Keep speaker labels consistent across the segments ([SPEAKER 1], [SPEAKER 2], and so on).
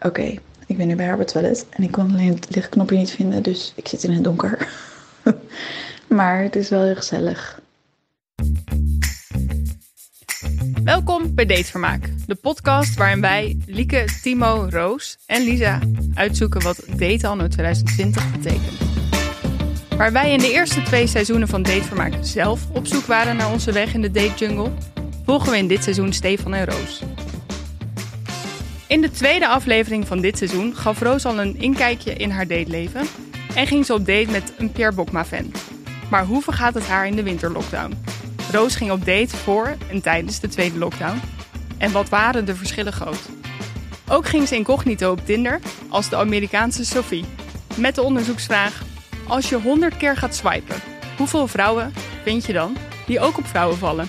[SPEAKER 1] Oké, ik ben nu bij haar op het toilet en ik kon alleen het lichtknopje niet vinden, dus ik zit in het donker. maar het is wel heel gezellig.
[SPEAKER 2] Welkom bij Datevermaak, de podcast waarin wij, Lieke, Timo, Roos en Lisa uitzoeken wat date anno 2020 betekent. Waar wij in de eerste twee seizoenen van Datevermaak zelf op zoek waren naar onze weg in de date jungle, volgen we in dit seizoen Stefan en Roos. In de tweede aflevering van dit seizoen gaf Roos al een inkijkje in haar dateleven en ging ze op date met een Pierre Bokma-fan. Maar hoe vergaat het haar in de winterlockdown? Roos ging op date voor en tijdens de tweede lockdown. En wat waren de verschillen groot? Ook ging ze incognito op Tinder als de Amerikaanse Sophie. Met de onderzoeksvraag: Als je 100 keer gaat swipen, hoeveel vrouwen vind je dan die ook op vrouwen vallen?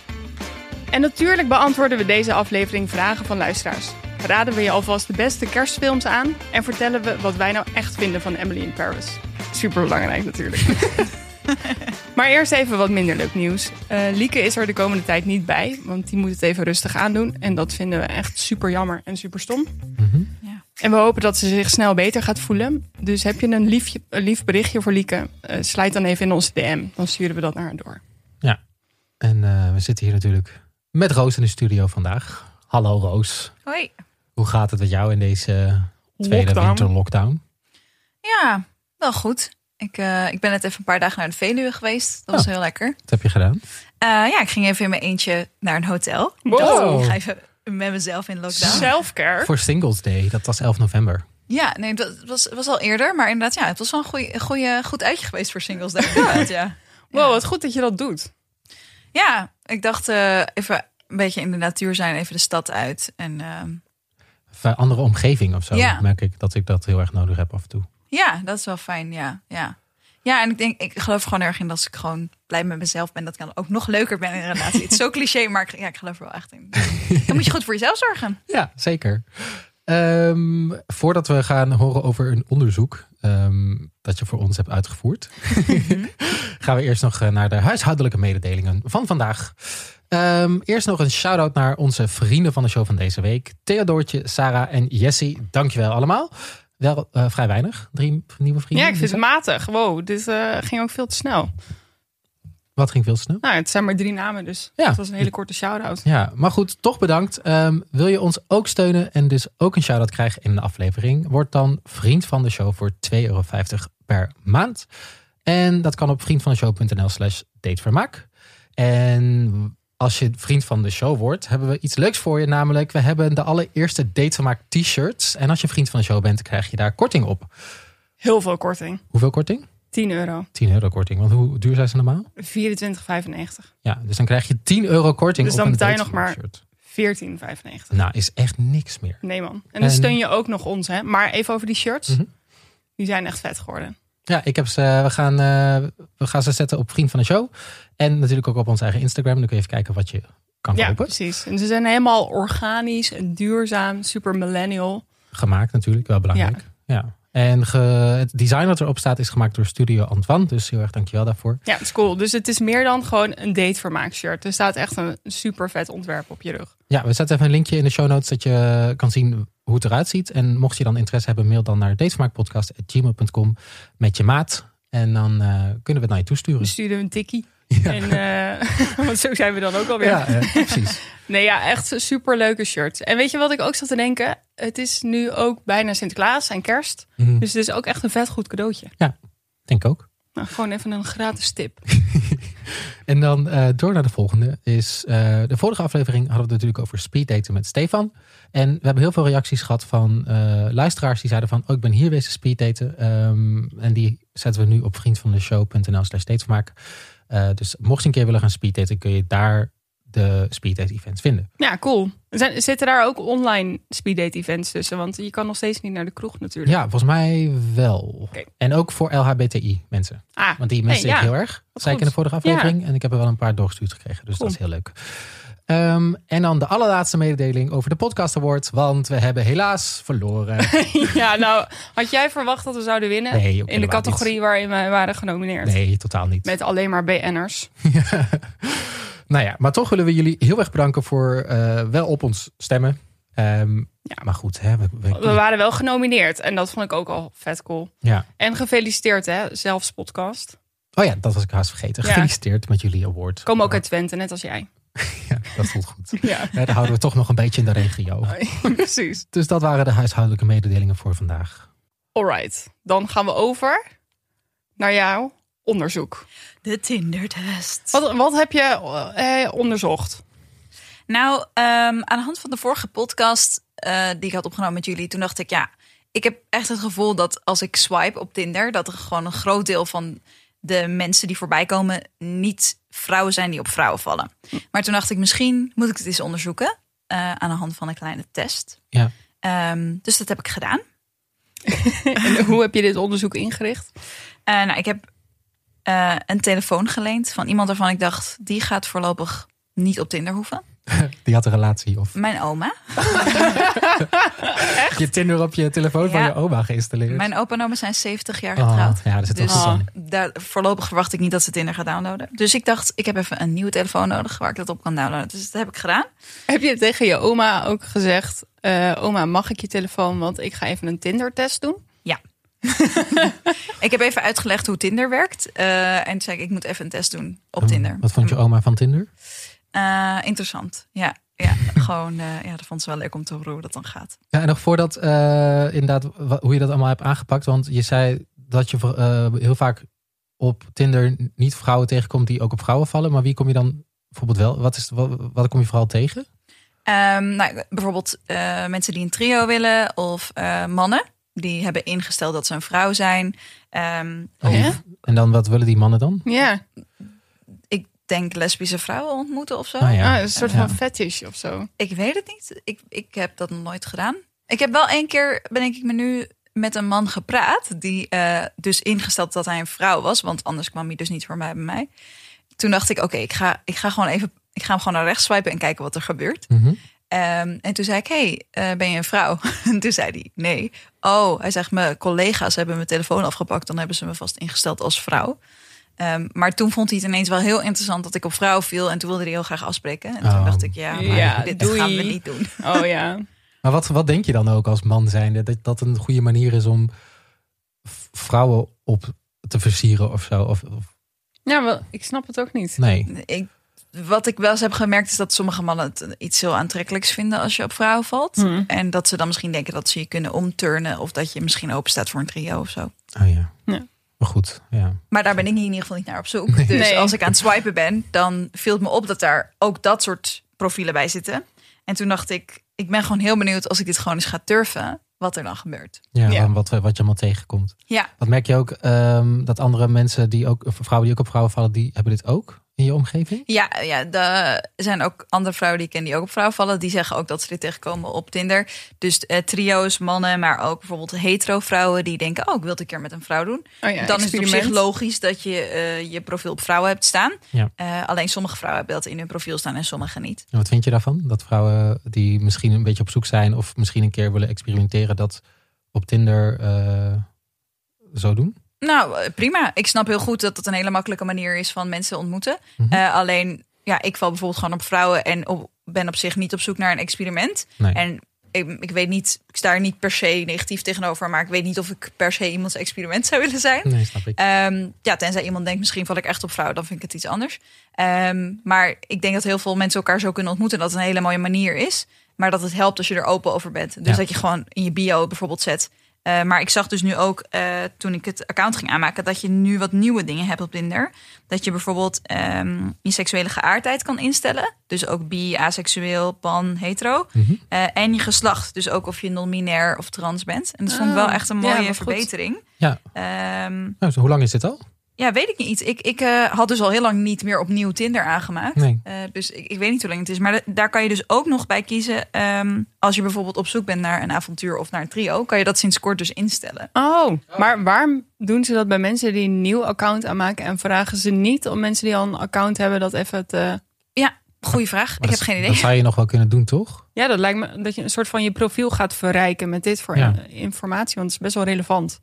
[SPEAKER 2] En natuurlijk beantwoorden we deze aflevering vragen van luisteraars. Raden we je alvast de beste kerstfilms aan en vertellen we wat wij nou echt vinden van Emily in Paris. Superbelangrijk natuurlijk. Maar eerst even wat minder leuk nieuws. Eh, Lieke is er de komende tijd niet bij, want die moet het even rustig aandoen. En dat vinden we echt super jammer en super stom.
[SPEAKER 3] Ja.
[SPEAKER 2] En we hopen dat ze zich snel beter gaat voelen. Dus heb je een, liefje, een lief berichtje voor Lieke, eh, slijt dan even in onze DM. Dan sturen we dat naar haar door.
[SPEAKER 4] En eh, we zitten hier natuurlijk met Roos in de studio vandaag. Hallo Roos.
[SPEAKER 3] Hoi.
[SPEAKER 4] Hoe gaat het met jou in deze eh, tweede
[SPEAKER 2] Lockdown.
[SPEAKER 4] winterlockdown?
[SPEAKER 3] Ja, wel goed. Ik, eh, ik ben net even een paar dagen naar de Veluwe geweest. Dat was
[SPEAKER 2] Oh.
[SPEAKER 3] heel lekker.
[SPEAKER 4] Wat heb je gedaan?
[SPEAKER 3] Eh, ja, ik ging even in mijn eentje naar een hotel. Ik
[SPEAKER 2] Wow.
[SPEAKER 3] dacht, ik ga even met mezelf in lockdown.
[SPEAKER 2] Selfcare.
[SPEAKER 4] Oh. Voor Singles Day, dat was 11 november.
[SPEAKER 3] Ja, nee, dat was, was al eerder. Maar inderdaad, ja, het was wel een goeie, goeie, goed uitje geweest voor singles. Daar, inderdaad, ja.
[SPEAKER 2] Wow, wat goed dat je dat doet.
[SPEAKER 3] ja, ik dacht eh, even een beetje in de natuur zijn. Even de stad uit. En ehm,
[SPEAKER 4] Of, eh, andere omgeving of zo.
[SPEAKER 3] Ja.
[SPEAKER 4] Merk ik dat ik dat heel erg nodig heb af en toe.
[SPEAKER 3] ja, dat is wel fijn, ja. ja. Ja, en ik denk, ik geloof gewoon erg in dat als ik gewoon blij met mezelf ben, dat ik dan ook nog leuker ben in een relatie. Het is zo cliché, maar ik, ja, ik geloof er wel echt in. Dan moet je goed voor jezelf zorgen.
[SPEAKER 4] Ja, zeker. Ehm, voordat we gaan horen over een onderzoek ehm, dat je voor ons hebt uitgevoerd, gaan we eerst nog eh, naar de huishoudelijke mededelingen van vandaag. Ehm, eerst nog een shout-out naar onze vrienden van de show van deze week: Theodoortje, Sarah en Jessie. Dankjewel allemaal. Wel eh, vrij weinig. Drie nieuwe vrienden.
[SPEAKER 2] Ja, ik vind
[SPEAKER 4] Lisa?
[SPEAKER 2] het matig. Wow, dit eh, ging ook veel te snel.
[SPEAKER 4] Wat ging veel te snel?
[SPEAKER 2] Nou, het zijn maar drie namen, dus
[SPEAKER 4] Ja.
[SPEAKER 2] het was een hele korte shout-out.
[SPEAKER 4] Ja, maar goed, toch bedankt. Ehm, wil je ons ook steunen en dus ook een shout-out krijgen in de aflevering? Word dan vriend van de show voor 2,50 euro per maand. En dat kan op vriendvandeshow.nl slash datevermaak. En als je vriend van de show wordt, hebben we iets leuks voor je. Namelijk, we hebben de allereerste datevermaak t-shirts. En als je vriend van de show bent, krijg je daar korting op.
[SPEAKER 2] Heel veel korting.
[SPEAKER 4] Hoeveel korting?
[SPEAKER 2] 10 euro.
[SPEAKER 4] 10 euro korting. Want hoe duur zijn ze normaal?
[SPEAKER 2] 24,95.
[SPEAKER 4] Ja, dus dan krijg je 10 euro korting
[SPEAKER 2] Dus
[SPEAKER 4] op
[SPEAKER 2] dan
[SPEAKER 4] een
[SPEAKER 2] betaal je nog maar-
[SPEAKER 4] datevermaakshirt.
[SPEAKER 2] 14,95.
[SPEAKER 4] Nou, is echt niks meer.
[SPEAKER 2] Nee man. En dan
[SPEAKER 4] En-
[SPEAKER 2] steun je ook nog ons, hè? Maar even over die shirts.
[SPEAKER 4] Mhm.
[SPEAKER 2] Die zijn echt vet geworden.
[SPEAKER 4] Ja, ik heb ze, we, gaan, eh, we gaan ze zetten op Vriend van de Show. En natuurlijk ook op ons eigen Instagram. Dan kun je even kijken wat je kan
[SPEAKER 2] Ja,
[SPEAKER 4] kopen.
[SPEAKER 2] precies. En ze zijn helemaal organisch en duurzaam. Super millennial.
[SPEAKER 4] Gemaakt natuurlijk, wel belangrijk. Ja. En ge- het design wat erop staat is gemaakt door Studio Antoine. Dus heel erg dankjewel daarvoor.
[SPEAKER 2] Ja, het is cool. Dus het is meer dan gewoon een datevermaak shirt. Er staat echt een super vet ontwerp op je rug.
[SPEAKER 4] Ja, we zetten even een linkje in de show notes dat je kan zien hoe het eruit ziet. En mocht je dan interesse hebben, mail dan naar datesmaakpodcast.gmail.com met je maat. En dan eh, kunnen we het naar
[SPEAKER 2] We
[SPEAKER 4] je toesturen.
[SPEAKER 2] sturen een tikkie.
[SPEAKER 4] Ja.
[SPEAKER 2] En, eh, want zo zijn we dan ook alweer.
[SPEAKER 4] Ja, eh, precies.
[SPEAKER 2] Nee, ja, echt super leuke shirts. En weet je wat ik ook zat te denken? Het is nu ook bijna Sinterklaas en kerst.
[SPEAKER 4] Mhm.
[SPEAKER 2] Dus het is ook echt een vet goed cadeautje.
[SPEAKER 4] Denk ook.
[SPEAKER 2] Nou, gewoon even een gratis tip.
[SPEAKER 4] En dan eh, door naar de volgende. Is, eh, de vorige aflevering hadden we het natuurlijk over speeddaten met Stefan. En we hebben heel veel reacties gehad van eh, luisteraars die zeiden van... oh, ik ben hier wezen speeddaten. Ehm, en die zetten we nu op vriendvandeshow.nl slash datevermaak. Eh, dus mocht je een keer willen gaan speeddaten... kun je daar de speeddate events vinden.
[SPEAKER 2] Ja, cool. Zijn, zitten daar ook online speeddate events tussen? Want je kan nog steeds niet naar de kroeg natuurlijk.
[SPEAKER 4] Ja, volgens mij wel.
[SPEAKER 2] Oké.
[SPEAKER 4] En ook voor LHBTI mensen.
[SPEAKER 2] Ah,
[SPEAKER 4] Want die mensen
[SPEAKER 2] Hey, ja.
[SPEAKER 4] heel erg. Dat zei ik in de
[SPEAKER 2] goed.
[SPEAKER 4] vorige aflevering. En ik heb er wel een paar doorgestuurd gekregen. Dus
[SPEAKER 2] Cool.
[SPEAKER 4] dat is heel leuk. Ehm, en dan de allerlaatste mededeling over de Podcast Award. Want we hebben helaas verloren.
[SPEAKER 2] ja, nou, had jij verwacht dat we zouden winnen?
[SPEAKER 4] Nee, ook
[SPEAKER 2] in de
[SPEAKER 4] helemaal
[SPEAKER 2] categorie waarin wij waren genomineerd.
[SPEAKER 4] niet. Nee, totaal niet.
[SPEAKER 2] Met alleen maar BN'ers.
[SPEAKER 4] nou ja, maar toch willen we jullie heel erg bedanken voor eh, wel op ons stemmen. ja. Maar goed, hè, we, we-
[SPEAKER 2] We waren wel genomineerd en dat vond ik ook al vet cool.
[SPEAKER 4] ja.
[SPEAKER 2] En gefeliciteerd hè, zelfs podcast.
[SPEAKER 4] Oh ja, dat was ik haast vergeten.
[SPEAKER 2] Ja.
[SPEAKER 4] Gefeliciteerd met jullie award.
[SPEAKER 2] Komen ook uit Twente, net als jij.
[SPEAKER 4] Ja, dat voelt goed.
[SPEAKER 2] Ja,
[SPEAKER 4] Ja, daar houden we toch nog een beetje in de regio.
[SPEAKER 2] precies.
[SPEAKER 4] Dus dat waren de huishoudelijke mededelingen voor vandaag.
[SPEAKER 2] Alright, dan gaan we over naar jouw onderzoek.
[SPEAKER 3] De Tinder-test.
[SPEAKER 2] Wat, wat heb je eh, onderzocht?
[SPEAKER 3] Nou, ehm, aan de hand van de vorige podcast eh, die ik had opgenomen met jullie, toen dacht ik, ja, ik heb echt het gevoel dat als ik swipe op Tinder, dat er gewoon een groot deel van de mensen die voorbij komen niet vrouwen zijn die op vrouwen vallen. Maar toen dacht ik, misschien moet ik het eens onderzoeken eh, aan de hand van een kleine test.
[SPEAKER 4] Ja.
[SPEAKER 3] Ehm, dus dat heb ik gedaan.
[SPEAKER 2] En hoe heb je dit onderzoek ingericht?
[SPEAKER 3] Eh, nou, ik heb eh, een telefoon geleend van iemand waarvan ik dacht, die gaat voorlopig niet op Tinder hoeven.
[SPEAKER 4] Die had een relatie of
[SPEAKER 3] Mijn oma.
[SPEAKER 4] je Tinder op je telefoon van
[SPEAKER 3] Ja.
[SPEAKER 4] je oma geïnstalleerd.
[SPEAKER 3] Mijn opa en oma zijn 70 jaar
[SPEAKER 4] Oh,
[SPEAKER 3] getrouwd.
[SPEAKER 4] ja, daar zit
[SPEAKER 3] Dus
[SPEAKER 4] wel goed
[SPEAKER 3] daar, voorlopig verwacht ik niet dat ze Tinder gaat downloaden. Dus ik dacht, ik heb even een nieuwe telefoon nodig waar ik dat op kan downloaden. Dus dat heb ik gedaan.
[SPEAKER 2] Heb je tegen je oma ook gezegd: eh, Oma, mag ik je telefoon? Want ik ga even een Tinder-test doen.
[SPEAKER 3] Ik heb even uitgelegd hoe Tinder werkt. eh, en toen zei ik, ik moet even een test doen op
[SPEAKER 4] Oh,
[SPEAKER 3] Tinder.
[SPEAKER 4] Wat vond je oma van Tinder?
[SPEAKER 3] Eh, interessant. Ja, ja gewoon, eh, ja, dat vond ze wel leuk om te horen hoe dat dan gaat.
[SPEAKER 4] Ja, en nog voordat eh, inderdaad wa- hoe je dat allemaal hebt aangepakt. Want je zei dat je eh, heel vaak op Tinder niet vrouwen tegenkomt die ook op vrouwen vallen. Maar wie kom je dan bijvoorbeeld wel? Wat, is, wat, wat kom je vooral tegen?
[SPEAKER 3] Ehm, nou, bijvoorbeeld eh, mensen die een trio willen of eh, mannen. Die hebben ingesteld dat ze een vrouw zijn. Ehm,
[SPEAKER 4] En,
[SPEAKER 2] Oh Ja?
[SPEAKER 4] en dan wat willen die mannen dan?
[SPEAKER 2] Ja,
[SPEAKER 3] ik denk lesbische vrouwen ontmoeten of zo.
[SPEAKER 4] Nou ja.
[SPEAKER 2] Ah, een soort
[SPEAKER 4] Ja.
[SPEAKER 2] van fetish of zo.
[SPEAKER 3] Ik weet het niet. Ik, ik heb dat nog nooit gedaan. Ik heb wel één keer, bedenk ik me nu, met een man gepraat. Die eh, dus ingesteld dat hij een vrouw was. Want anders kwam hij dus niet voor mij bij mij. Toen dacht ik, oké, ik, ga, ik ga gewoon even... Ik ga hem gewoon naar rechts swipen en kijken wat er gebeurt.
[SPEAKER 4] Mhm.
[SPEAKER 3] Ehm, en toen zei ik, hey, eh, ben je een vrouw? En toen zei hij, nee. Oh, hij zegt, mijn collega's hebben mijn telefoon afgepakt. Dan hebben ze me vast ingesteld als vrouw. Ehm, maar toen vond hij het ineens wel heel interessant dat ik op vrouw viel. En toen wilde hij heel graag afspreken. En toen
[SPEAKER 4] Oh.
[SPEAKER 3] dacht ik, ja, maar
[SPEAKER 2] Ja,
[SPEAKER 3] dit
[SPEAKER 2] doei.
[SPEAKER 3] gaan we niet doen.
[SPEAKER 2] Oh ja.
[SPEAKER 4] Maar wat, wat denk je dan ook als man zijnde? Dat dat een goede manier is om v- vrouwen op te versieren of zo? Of, of-
[SPEAKER 2] Ja, wel, ik snap het ook niet.
[SPEAKER 4] nee.
[SPEAKER 3] Ik, wat ik wel eens heb gemerkt is dat sommige mannen het iets heel aantrekkelijks vinden als je op vrouwen valt.
[SPEAKER 2] Hmm.
[SPEAKER 3] En dat ze dan misschien denken dat ze je kunnen omturnen. Of dat je misschien open staat voor een trio of zo.
[SPEAKER 4] Oh ja.
[SPEAKER 2] Ja.
[SPEAKER 4] Maar goed, ja.
[SPEAKER 3] Maar daar ben ik in ieder geval niet naar op zoek. Dus
[SPEAKER 2] Nee.
[SPEAKER 3] als ik aan het swipen ben, dan viel het me op dat daar ook dat soort profielen bij zitten. En toen dacht ik, ik ben gewoon heel benieuwd als ik dit gewoon eens ga turven, wat er dan gebeurt.
[SPEAKER 4] Ja,
[SPEAKER 2] Ja.
[SPEAKER 4] dan Wat, eh, wat je allemaal tegenkomt.
[SPEAKER 3] Ja.
[SPEAKER 4] Dat merk je ook, ehm, dat andere mensen die ook, of vrouwen die ook op vrouwen vallen, die hebben dit ook in je omgeving?
[SPEAKER 3] Ja, ja, de- er zijn ook andere vrouwen die ik ken die ook op vrouwen vallen. Die zeggen ook dat ze dit tegenkomen op Tinder. Dus eh, trio's, mannen, maar ook bijvoorbeeld hetero vrouwen die denken... oh, ik wil het een keer met een vrouw doen.
[SPEAKER 2] Oh ja,
[SPEAKER 3] dan is het op zich
[SPEAKER 2] experiment.
[SPEAKER 3] logisch dat je eh, je profiel op vrouwen hebt staan.
[SPEAKER 4] Ja.
[SPEAKER 3] Eh, alleen sommige vrouwen hebben dat in hun profiel staan en sommige niet.
[SPEAKER 4] En wat vind je daarvan? Dat vrouwen die misschien een beetje op zoek zijn of misschien een keer willen experimenteren, dat op Tinder eh, zo doen?
[SPEAKER 3] Nou, eh, prima. Ik snap heel goed dat dat een hele makkelijke manier is van mensen ontmoeten.
[SPEAKER 4] Mhm.
[SPEAKER 3] Eh, alleen, ja, ik val bijvoorbeeld gewoon op vrouwen en op, ben op zich niet op zoek naar een experiment.
[SPEAKER 4] Nee.
[SPEAKER 3] En ik, ik weet niet, ik sta er niet per se negatief tegenover, maar ik weet niet of ik per se iemands experiment zou willen zijn.
[SPEAKER 4] Nee, snap ik.
[SPEAKER 3] Ehm, ja, tenzij iemand denkt, misschien val ik echt op vrouwen, dan vind ik het iets anders. Ehm, maar ik denk dat heel veel mensen elkaar zo kunnen ontmoeten. Dat het een hele mooie manier is. Maar dat het helpt als je er open over bent. Dus
[SPEAKER 4] Ja.
[SPEAKER 3] dat je gewoon in je bio bijvoorbeeld zet. eh, maar ik zag dus nu ook, eh, toen ik het account ging aanmaken, dat je nu wat nieuwe dingen hebt op Tinder. Dat je bijvoorbeeld ehm, je seksuele geaardheid kan instellen. Dus ook bi, aseksueel, pan, hetero.
[SPEAKER 4] Mhm.
[SPEAKER 3] Eh, en je geslacht. Dus ook of je non-binair of trans bent. En dat vond ik
[SPEAKER 2] Ah,
[SPEAKER 3] wel echt een
[SPEAKER 2] ja, wat
[SPEAKER 3] mooie
[SPEAKER 2] goed.
[SPEAKER 3] verbetering.
[SPEAKER 4] Ja.
[SPEAKER 3] Ehm,
[SPEAKER 4] Nou, zo, hoe lang is dit al?
[SPEAKER 3] ja, weet ik niet. Ik, ik eh, had dus al heel lang niet meer opnieuw Tinder aangemaakt.
[SPEAKER 4] Nee.
[SPEAKER 3] Eh, dus ik, ik weet niet hoe lang het is. Maar da- daar kan je dus ook nog bij kiezen. ehm, als je bijvoorbeeld op zoek bent naar een avontuur of naar een trio, kan je dat sinds kort dus instellen.
[SPEAKER 2] Oh, maar waarom doen ze dat bij mensen die een nieuw account aanmaken en vragen ze niet om mensen die al een account hebben dat even te...
[SPEAKER 3] Ja, goede vraag.
[SPEAKER 4] Maar
[SPEAKER 3] ik
[SPEAKER 4] dat-
[SPEAKER 3] heb geen
[SPEAKER 4] Dat
[SPEAKER 3] idee.
[SPEAKER 4] zou je nog wel kunnen doen, toch?
[SPEAKER 2] Ja, dat lijkt me dat je een soort van je profiel gaat verrijken met dit voor
[SPEAKER 4] Ja.
[SPEAKER 2] eh, informatie, want het is best wel relevant.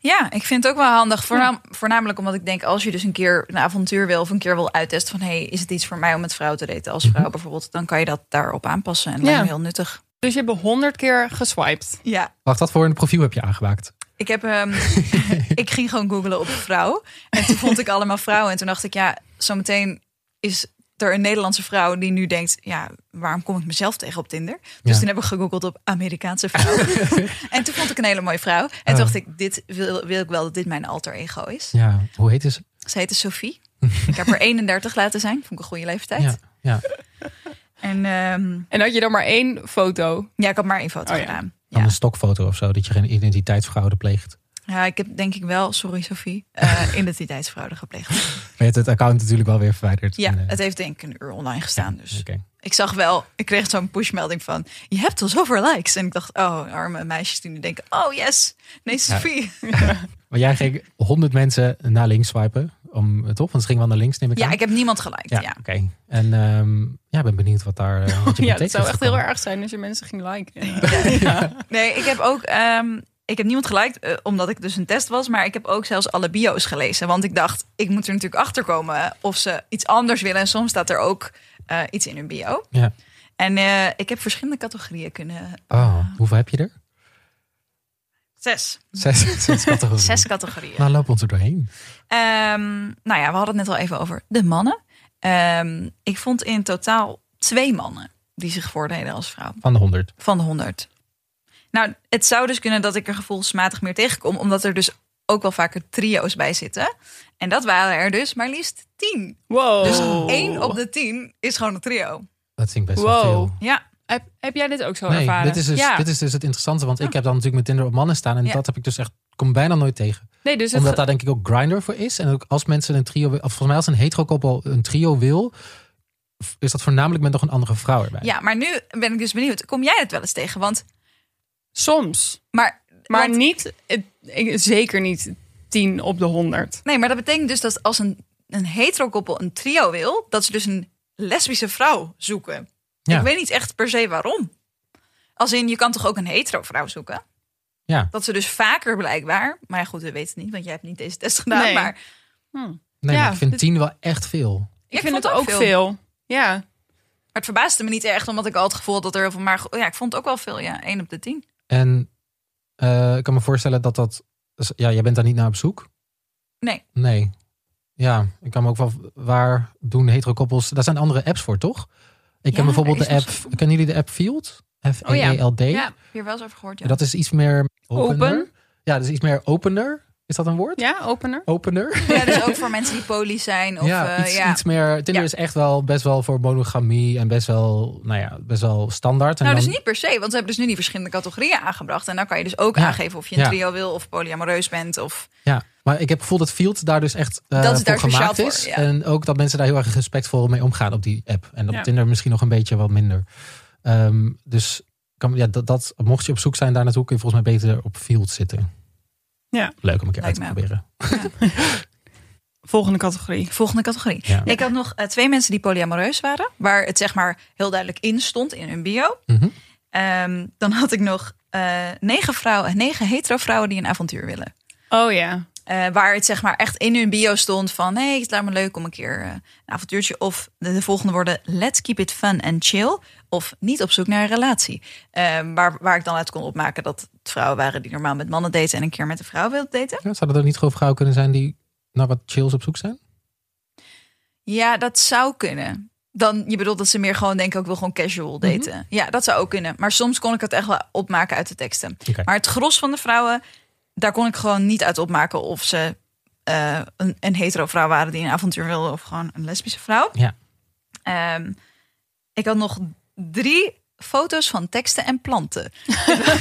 [SPEAKER 3] Ja, ik vind het ook wel handig. Voornaam- voornamelijk omdat ik denk, als je dus een keer een avontuur wil of een keer wil
[SPEAKER 4] Mhm.
[SPEAKER 3] uittesten van hey, is het iets voor mij om met vrouw te daten als vrouw bijvoorbeeld, dan kan je dat daarop aanpassen. En dat
[SPEAKER 2] Ja.
[SPEAKER 3] lijkt me heel nuttig.
[SPEAKER 2] Dus je hebt honderd keer geswiped.
[SPEAKER 3] Ja,
[SPEAKER 4] Wacht, wat voor een profiel heb je aangemaakt?
[SPEAKER 3] ik heb ehm, ik ging gewoon googlen op vrouw. En toen vond ik allemaal vrouwen. En toen dacht ik, ja, zometeen is er een Nederlandse vrouw die nu denkt, ja, waarom kom ik mezelf tegen op Tinder? Dus
[SPEAKER 4] Ja.
[SPEAKER 3] toen heb ik gegoogeld op Amerikaanse vrouwen. en toen vond ik een hele mooie vrouw. En toen
[SPEAKER 4] Oh.
[SPEAKER 3] dacht ik, dit wil, wil ik wel dat dit mijn alter ego is.
[SPEAKER 4] Ja, hoe heet ze?
[SPEAKER 3] Ze heette Sophie. ik heb er 31 laten zijn. Vond ik een goede leeftijd.
[SPEAKER 4] Ja, ja.
[SPEAKER 3] En ehm,
[SPEAKER 2] En had je dan maar één foto.
[SPEAKER 3] ja, ik had maar één foto
[SPEAKER 2] Oh ja.
[SPEAKER 3] gedaan.
[SPEAKER 4] Dan
[SPEAKER 3] Ja.
[SPEAKER 4] een stokfoto of zo, dat je geen identiteitsfraude pleegt.
[SPEAKER 3] ja, ik heb denk ik wel, sorry Sophie, eh identiteitsfraude gepleegd.
[SPEAKER 4] Maar je hebt het account natuurlijk wel weer verwijderd.
[SPEAKER 3] Ja,
[SPEAKER 4] En, eh,
[SPEAKER 3] het heeft denk ik een uur online gestaan. Dus
[SPEAKER 4] oké.
[SPEAKER 3] ik zag wel, ik kreeg zo'n pushmelding van, je hebt al zoveel likes. En ik dacht, oh, arme meisjes die nu denken, oh yes, nee Sophie. Ja,
[SPEAKER 4] Maar jij ging 100 mensen naar links swipen, om, eh, toch? Want ze gingen wel naar links, neem ik aan.
[SPEAKER 3] ik heb niemand geliked, ja.
[SPEAKER 4] ja, oké. En ehm, ja, ik ben benieuwd wat daar eh, wat je
[SPEAKER 2] Ja, dat
[SPEAKER 4] betekent.
[SPEAKER 2] zou echt heel erg zijn als je mensen ging liken.
[SPEAKER 3] Nee, ik heb ook, ehm, ik heb niemand geliked, eh, omdat ik dus een test was. Maar ik heb ook zelfs alle bio's gelezen. Want ik dacht, ik moet er natuurlijk achter komen of ze iets anders willen. En soms staat er ook eh, iets in hun bio.
[SPEAKER 4] Ja.
[SPEAKER 3] En eh, ik heb verschillende categorieën kunnen.
[SPEAKER 4] Oh, hoeveel heb je er?
[SPEAKER 3] Zes.
[SPEAKER 4] Zes, zes categorieën.
[SPEAKER 3] Zes categorieën.
[SPEAKER 4] Nou, loop ons er doorheen.
[SPEAKER 3] Ehm, nou ja, we hadden het net al even over de mannen. Ehm, ik vond in totaal twee mannen die zich voordeden als vrouw
[SPEAKER 4] Van de 100.
[SPEAKER 3] van de 100. Nou, het zou dus kunnen dat ik er gevoelsmatig meer tegenkom, omdat er dus ook wel vaker trio's bij zitten. En dat waren er dus maar liefst tien.
[SPEAKER 2] Wow.
[SPEAKER 3] Dus één op de tien is gewoon een trio.
[SPEAKER 4] Dat vind ik best
[SPEAKER 2] Wow.
[SPEAKER 4] wel veel.
[SPEAKER 3] Ja,
[SPEAKER 2] heb, heb jij dit ook zo
[SPEAKER 4] Nee,
[SPEAKER 2] ervaren?
[SPEAKER 4] dit is, dus,
[SPEAKER 2] ja. Hm.
[SPEAKER 4] dit is dus het interessante. Want ik heb dan natuurlijk mijn Tinder op mannen staan. En
[SPEAKER 3] Ja.
[SPEAKER 4] dat heb ik dus echt, kom bijna nooit tegen.
[SPEAKER 2] nee, dus het
[SPEAKER 4] Omdat
[SPEAKER 2] ge-
[SPEAKER 4] daar denk ik ook grinder voor is. En ook als mensen een trio, wil- of volgens mij als een hetero koppel een trio wil, f- is dat voornamelijk met nog een andere vrouw erbij.
[SPEAKER 3] ja, maar nu ben ik dus benieuwd. Kom jij het wel eens tegen? Want,
[SPEAKER 2] soms.
[SPEAKER 3] maar,
[SPEAKER 2] Maar
[SPEAKER 3] want-
[SPEAKER 2] niet, het- ik- zeker niet 10 op de 100.
[SPEAKER 3] nee, maar dat betekent dus dat als een, een hetero koppel een trio wil, dat ze dus een lesbische vrouw zoeken.
[SPEAKER 4] Ja.
[SPEAKER 3] Ik weet niet echt per se waarom. Als in, je kan toch ook een hetero vrouw zoeken?
[SPEAKER 4] Ja.
[SPEAKER 3] Dat ze dus vaker blijkbaar. Maar ja, goed, we weten het niet, want jij hebt niet deze test gedaan.
[SPEAKER 2] Nee.
[SPEAKER 3] Maar
[SPEAKER 4] Nee, maar
[SPEAKER 2] Ja,
[SPEAKER 4] ik vind
[SPEAKER 2] dit-
[SPEAKER 4] tien wel echt veel.
[SPEAKER 2] Ik, vind het ook veel. Ja.
[SPEAKER 3] Maar het verbaasde me niet echt, omdat ik al het gevoel had dat er heel veel. Maar ja, ik vond het ook wel veel. Ja, 1 op de 10.
[SPEAKER 4] En eh, ik kan me voorstellen dat dat. Ja, jij bent daar niet naar op zoek?
[SPEAKER 3] Nee.
[SPEAKER 4] Nee. Ja, ik kan me ook wel. Waar doen hetero koppels. Daar zijn andere apps voor, toch? Ik
[SPEAKER 3] Ja,
[SPEAKER 4] ken bijvoorbeeld
[SPEAKER 3] er
[SPEAKER 4] de
[SPEAKER 3] is nog Oh
[SPEAKER 4] app. Kennen jullie de app Field? E F-E-E-L-D.
[SPEAKER 3] Ja, hier wel eens over gehoord. Ja.
[SPEAKER 4] Dat is iets meer opener.
[SPEAKER 2] Open.
[SPEAKER 4] Ja, dat is iets meer opener. Is dat een woord?
[SPEAKER 2] Ja, opener.
[SPEAKER 4] Opener.
[SPEAKER 3] Ja, dus ook voor mensen die poly zijn. Of,
[SPEAKER 4] ja,
[SPEAKER 3] eh,
[SPEAKER 4] iets,
[SPEAKER 3] ja.
[SPEAKER 4] iets meer. Tinder
[SPEAKER 3] Ja.
[SPEAKER 4] is echt wel best wel voor monogamie en best wel, nou ja, best wel standaard. En
[SPEAKER 3] Nou, dus
[SPEAKER 4] dan-
[SPEAKER 3] niet per se, want ze hebben dus nu die verschillende categorieën aangebracht. En dan kan je dus ook
[SPEAKER 4] Ja.
[SPEAKER 3] aangeven of je een
[SPEAKER 4] Ja.
[SPEAKER 3] trio wil of polyamoreus bent. Of
[SPEAKER 4] Ja, maar ik heb het gevoel dat Field daar dus echt eh,
[SPEAKER 3] Dat is
[SPEAKER 4] voor
[SPEAKER 3] daar speciaal
[SPEAKER 4] gemaakt
[SPEAKER 3] voor,
[SPEAKER 4] is.
[SPEAKER 3] ja.
[SPEAKER 4] En ook dat mensen daar heel erg respectvol mee omgaan op die app. En op
[SPEAKER 2] Ja.
[SPEAKER 4] Tinder misschien nog een beetje wat minder. Ehm, dus kan, ja, dat, dat, mocht je op zoek zijn daar naartoe, kun je volgens mij beter op Field zitten.
[SPEAKER 2] Ja.
[SPEAKER 4] Leuk om een keer
[SPEAKER 3] Lijkt
[SPEAKER 4] uit
[SPEAKER 3] me
[SPEAKER 4] te
[SPEAKER 3] ook.
[SPEAKER 4] proberen.
[SPEAKER 2] Volgende categorie.
[SPEAKER 3] volgende categorie.
[SPEAKER 4] Ja.
[SPEAKER 3] Ik had nog eh, twee mensen die polyamoreus waren, waar het zeg maar heel duidelijk in stond in hun bio.
[SPEAKER 4] Mhm.
[SPEAKER 3] Ehm, dan had ik nog eh, negen vrouwen, negen hetero vrouwen die een avontuur willen.
[SPEAKER 2] Oh ja.
[SPEAKER 3] Eh, waar het zeg maar echt in hun bio stond van... hé, hey, het lijkt me leuk om een keer eh, een avontuurtje... of de, de volgende worden let's keep it fun and chill... of niet op zoek naar een relatie. Eh, waar, waar ik dan uit kon opmaken dat het vrouwen waren... die normaal met mannen daten en een keer met een vrouw wilden daten.
[SPEAKER 4] Ja, zou dat ook niet gewoon vrouwen kunnen zijn die naar wat chills op zoek zijn?
[SPEAKER 3] Ja, dat zou kunnen. Dan, je bedoelt dat ze meer gewoon denken... ik wil gewoon casual daten. Ja, dat zou ook kunnen. Maar soms kon ik het echt wel opmaken uit de teksten.
[SPEAKER 4] Oké.
[SPEAKER 3] Maar het gros van de vrouwen... daar kon ik gewoon niet uit opmaken of ze... eh, een, een hetero vrouw waren die een avontuur wilde... of gewoon een lesbische vrouw.
[SPEAKER 4] Ja.
[SPEAKER 3] Ehm, ik had nog drie foto's van teksten en planten.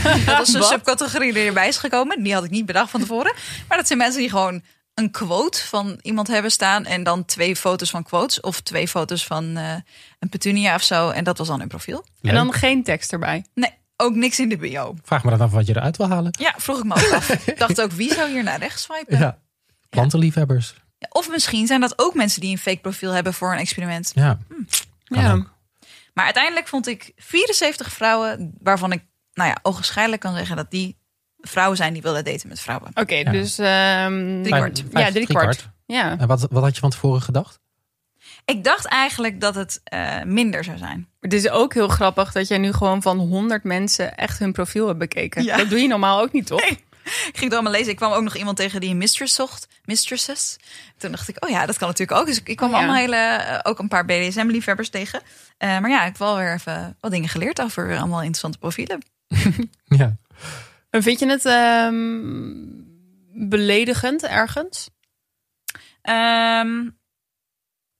[SPEAKER 3] dat was een
[SPEAKER 2] Wat?
[SPEAKER 3] subcategorie die erbij is gekomen. Die had ik niet bedacht van tevoren. Maar dat zijn mensen die gewoon een quote van iemand hebben staan... en dan twee foto's van quotes of twee foto's van eh, een petunia of zo. En dat was dan hun profiel.
[SPEAKER 2] En
[SPEAKER 4] Leuk.
[SPEAKER 2] dan geen tekst erbij.
[SPEAKER 3] Nee, ook niks in de bio.
[SPEAKER 4] Vraag me dan af wat je eruit wil halen.
[SPEAKER 3] Ja, vroeg ik me ook af. Ik dacht ook, wie zou hier naar rechts swipen?
[SPEAKER 4] Ja. Plantenliefhebbers.
[SPEAKER 3] Of misschien zijn dat ook mensen die een fake profiel hebben voor een experiment.
[SPEAKER 4] Ja. Kan
[SPEAKER 2] ja.
[SPEAKER 4] ook.
[SPEAKER 3] Maar uiteindelijk vond ik 74 vrouwen, waarvan ik, nou ja, ogenschijnlijk kan zeggen dat die vrouwen zijn die willen daten met vrouwen.
[SPEAKER 2] Oké,
[SPEAKER 4] Ja.
[SPEAKER 2] dus... ehm
[SPEAKER 3] Drie kwart.
[SPEAKER 4] Vijf-
[SPEAKER 2] Ja,
[SPEAKER 4] vijf-
[SPEAKER 2] drie kwart. Ja.
[SPEAKER 4] En wat, wat had je van tevoren gedacht?
[SPEAKER 3] Ik dacht eigenlijk dat het eh, minder zou zijn.
[SPEAKER 2] Het is ook heel grappig dat jij nu gewoon van 100 mensen echt hun profiel hebt bekeken.
[SPEAKER 3] Ja.
[SPEAKER 2] Dat doe je normaal ook niet, toch?
[SPEAKER 3] Nee. Ik ging het allemaal lezen. Ik kwam ook nog iemand tegen die een mistress zocht. Mistresses. Toen dacht ik, oh ja, dat kan natuurlijk ook. Dus ik kwam
[SPEAKER 2] Oh ja.
[SPEAKER 3] allemaal hele, eh, ook een paar BDSM-liefhebbers tegen. Eh, maar ja, ik heb wel weer even wat dingen geleerd over eh, allemaal interessante profielen.
[SPEAKER 4] Ja.
[SPEAKER 2] En vind je het ehm, beledigend ergens?
[SPEAKER 3] Ehm,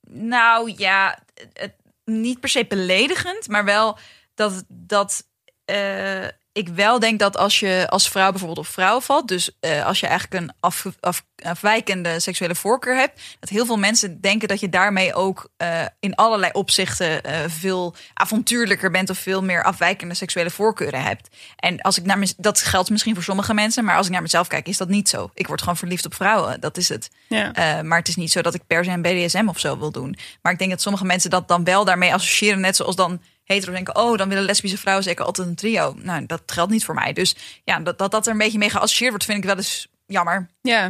[SPEAKER 3] nou ja, het- het- niet per se beledigend, maar wel dat, dat eh, ik wel denk dat als je als vrouw bijvoorbeeld op vrouw valt, dus eh, als je eigenlijk een af, af- afwijkende seksuele voorkeur hebt, dat heel veel mensen denken dat je daarmee ook eh, in allerlei opzichten eh, veel avontuurlijker bent of veel meer afwijkende seksuele voorkeuren hebt. En als ik naar mez- dat geldt misschien voor sommige mensen, maar als ik naar mezelf kijk, is dat niet zo. Ik word gewoon verliefd op vrouwen, dat is het.
[SPEAKER 2] Ja.
[SPEAKER 3] Eh, maar het is niet zo dat ik per se een BDSM of zo wil doen. Maar ik denk dat sommige mensen dat dan wel daarmee associëren. Net zoals dan hetero denken, oh, dan willen lesbische vrouwen zeker altijd een trio. Nou, dat geldt niet voor mij. Dus ja, dat dat, dat er een beetje mee geassocieerd wordt, vind ik wel eens jammer.
[SPEAKER 2] Ja.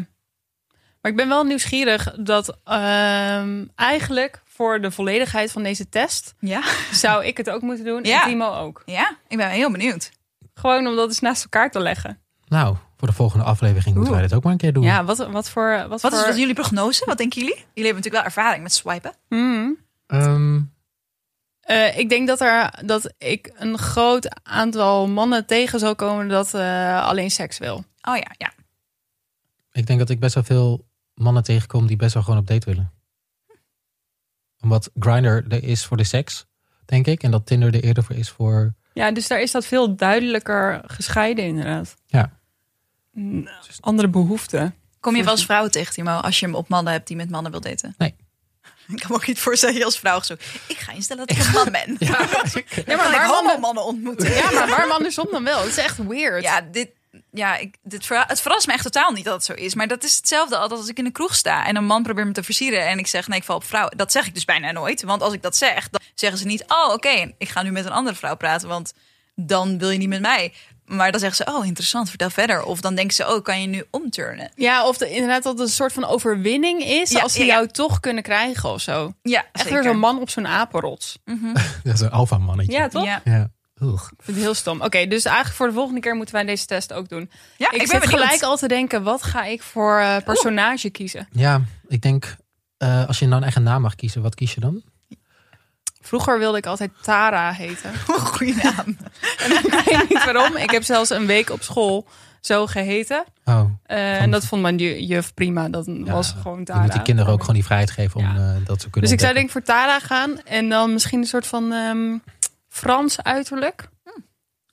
[SPEAKER 2] Maar ik ben wel nieuwsgierig dat ehm, eigenlijk voor de volledigheid van deze test
[SPEAKER 3] Ja?
[SPEAKER 2] zou ik het ook moeten doen
[SPEAKER 3] Ja.
[SPEAKER 2] en Timo ook.
[SPEAKER 3] Ja, ik ben heel benieuwd.
[SPEAKER 2] Gewoon om dat eens naast elkaar te leggen.
[SPEAKER 4] Nou, voor de volgende aflevering moeten wij dit ook maar een keer doen.
[SPEAKER 2] Ja, wat, wat voor... Wat,
[SPEAKER 3] Wat
[SPEAKER 2] voor...
[SPEAKER 3] is wat jullie prognose? Wat denken jullie? Jullie hebben natuurlijk wel ervaring met swipen.
[SPEAKER 2] Mhm.
[SPEAKER 4] Ehm,
[SPEAKER 2] Eh, ik denk dat, er, dat ik een groot aantal mannen tegen zal komen dat eh, alleen seks wil.
[SPEAKER 3] Oh ja, ja.
[SPEAKER 4] ik denk dat ik best wel veel mannen tegenkom die best wel gewoon op date willen. Omdat Grindr er is voor de seks, denk ik. En dat Tinder er eerder voor is voor...
[SPEAKER 2] Ja, dus daar is dat veel duidelijker gescheiden inderdaad.
[SPEAKER 4] Ja.
[SPEAKER 2] Mm,
[SPEAKER 3] Dus-
[SPEAKER 2] Andere behoeften.
[SPEAKER 3] Kom je wel eens vrouwen tegen, Timo, als je hem op mannen hebt die met mannen wil daten?
[SPEAKER 4] Nee.
[SPEAKER 3] Ik kan me ook niet voorstellen dat je als vrouw zo... Ik ga instellen dat ik een man ben. Ja,
[SPEAKER 2] Ja,
[SPEAKER 3] maar
[SPEAKER 2] maar waar mannen,
[SPEAKER 3] mannen ontmoeten?
[SPEAKER 2] ja, maar waar mannen som dan wel? Het is echt weird.
[SPEAKER 3] Ja, dit, ja ik, dit verha- het verrast me echt totaal niet dat het zo is. Maar dat is hetzelfde altijd als ik in de kroeg sta en een man probeert me te versieren. En ik zeg, nee, ik val op vrouwen. Dat zeg ik dus bijna nooit. Want als ik dat zeg, dan zeggen ze niet, oh, oké, ik ga nu met een andere vrouw praten. Want dan wil je niet met mij. Maar dan zeggen ze, oh, interessant, vertel verder. Of dan denken ze, oh, kan je nu omturnen?
[SPEAKER 2] Ja, of de, inderdaad dat het een soort van overwinning is
[SPEAKER 3] Ja,
[SPEAKER 2] als ze
[SPEAKER 3] ja, ja.
[SPEAKER 2] jou toch kunnen krijgen of zo.
[SPEAKER 3] Ja,
[SPEAKER 2] Echt weer
[SPEAKER 3] zeker.
[SPEAKER 2] zo'n man op zo'n apenrots.
[SPEAKER 4] Dat is een alfa mannetje.
[SPEAKER 2] Ja, toch?
[SPEAKER 3] Ja.
[SPEAKER 4] Ja. Oeg.
[SPEAKER 2] Ik vind het heel stom. Oké, dus eigenlijk voor de volgende keer moeten wij deze test ook doen.
[SPEAKER 3] Ja,
[SPEAKER 2] ik
[SPEAKER 3] Ah, ik ben
[SPEAKER 2] zit
[SPEAKER 3] benieuwd.
[SPEAKER 2] gelijk al te denken, wat ga ik voor eh, personage kiezen?
[SPEAKER 4] ja ik denk... eh, als je nou een eigen naam mag kiezen, wat kies je dan?
[SPEAKER 2] Vroeger wilde ik altijd Tara heten.
[SPEAKER 3] Goeie naam.
[SPEAKER 2] ik weet niet waarom. Ik heb zelfs een week op school zo geheten.
[SPEAKER 4] Oh,
[SPEAKER 2] Eh, en dat vond mijn ju- juf prima. Dat was gewoon
[SPEAKER 4] je
[SPEAKER 2] Tara.
[SPEAKER 4] moet die kinderen ook gewoon die vrijheid geven om eh, dat ze kunnen
[SPEAKER 2] Dus ik zou
[SPEAKER 4] ontdekken.
[SPEAKER 2] denk ik voor Tara gaan. En dan misschien een soort van ehm, Frans uiterlijk.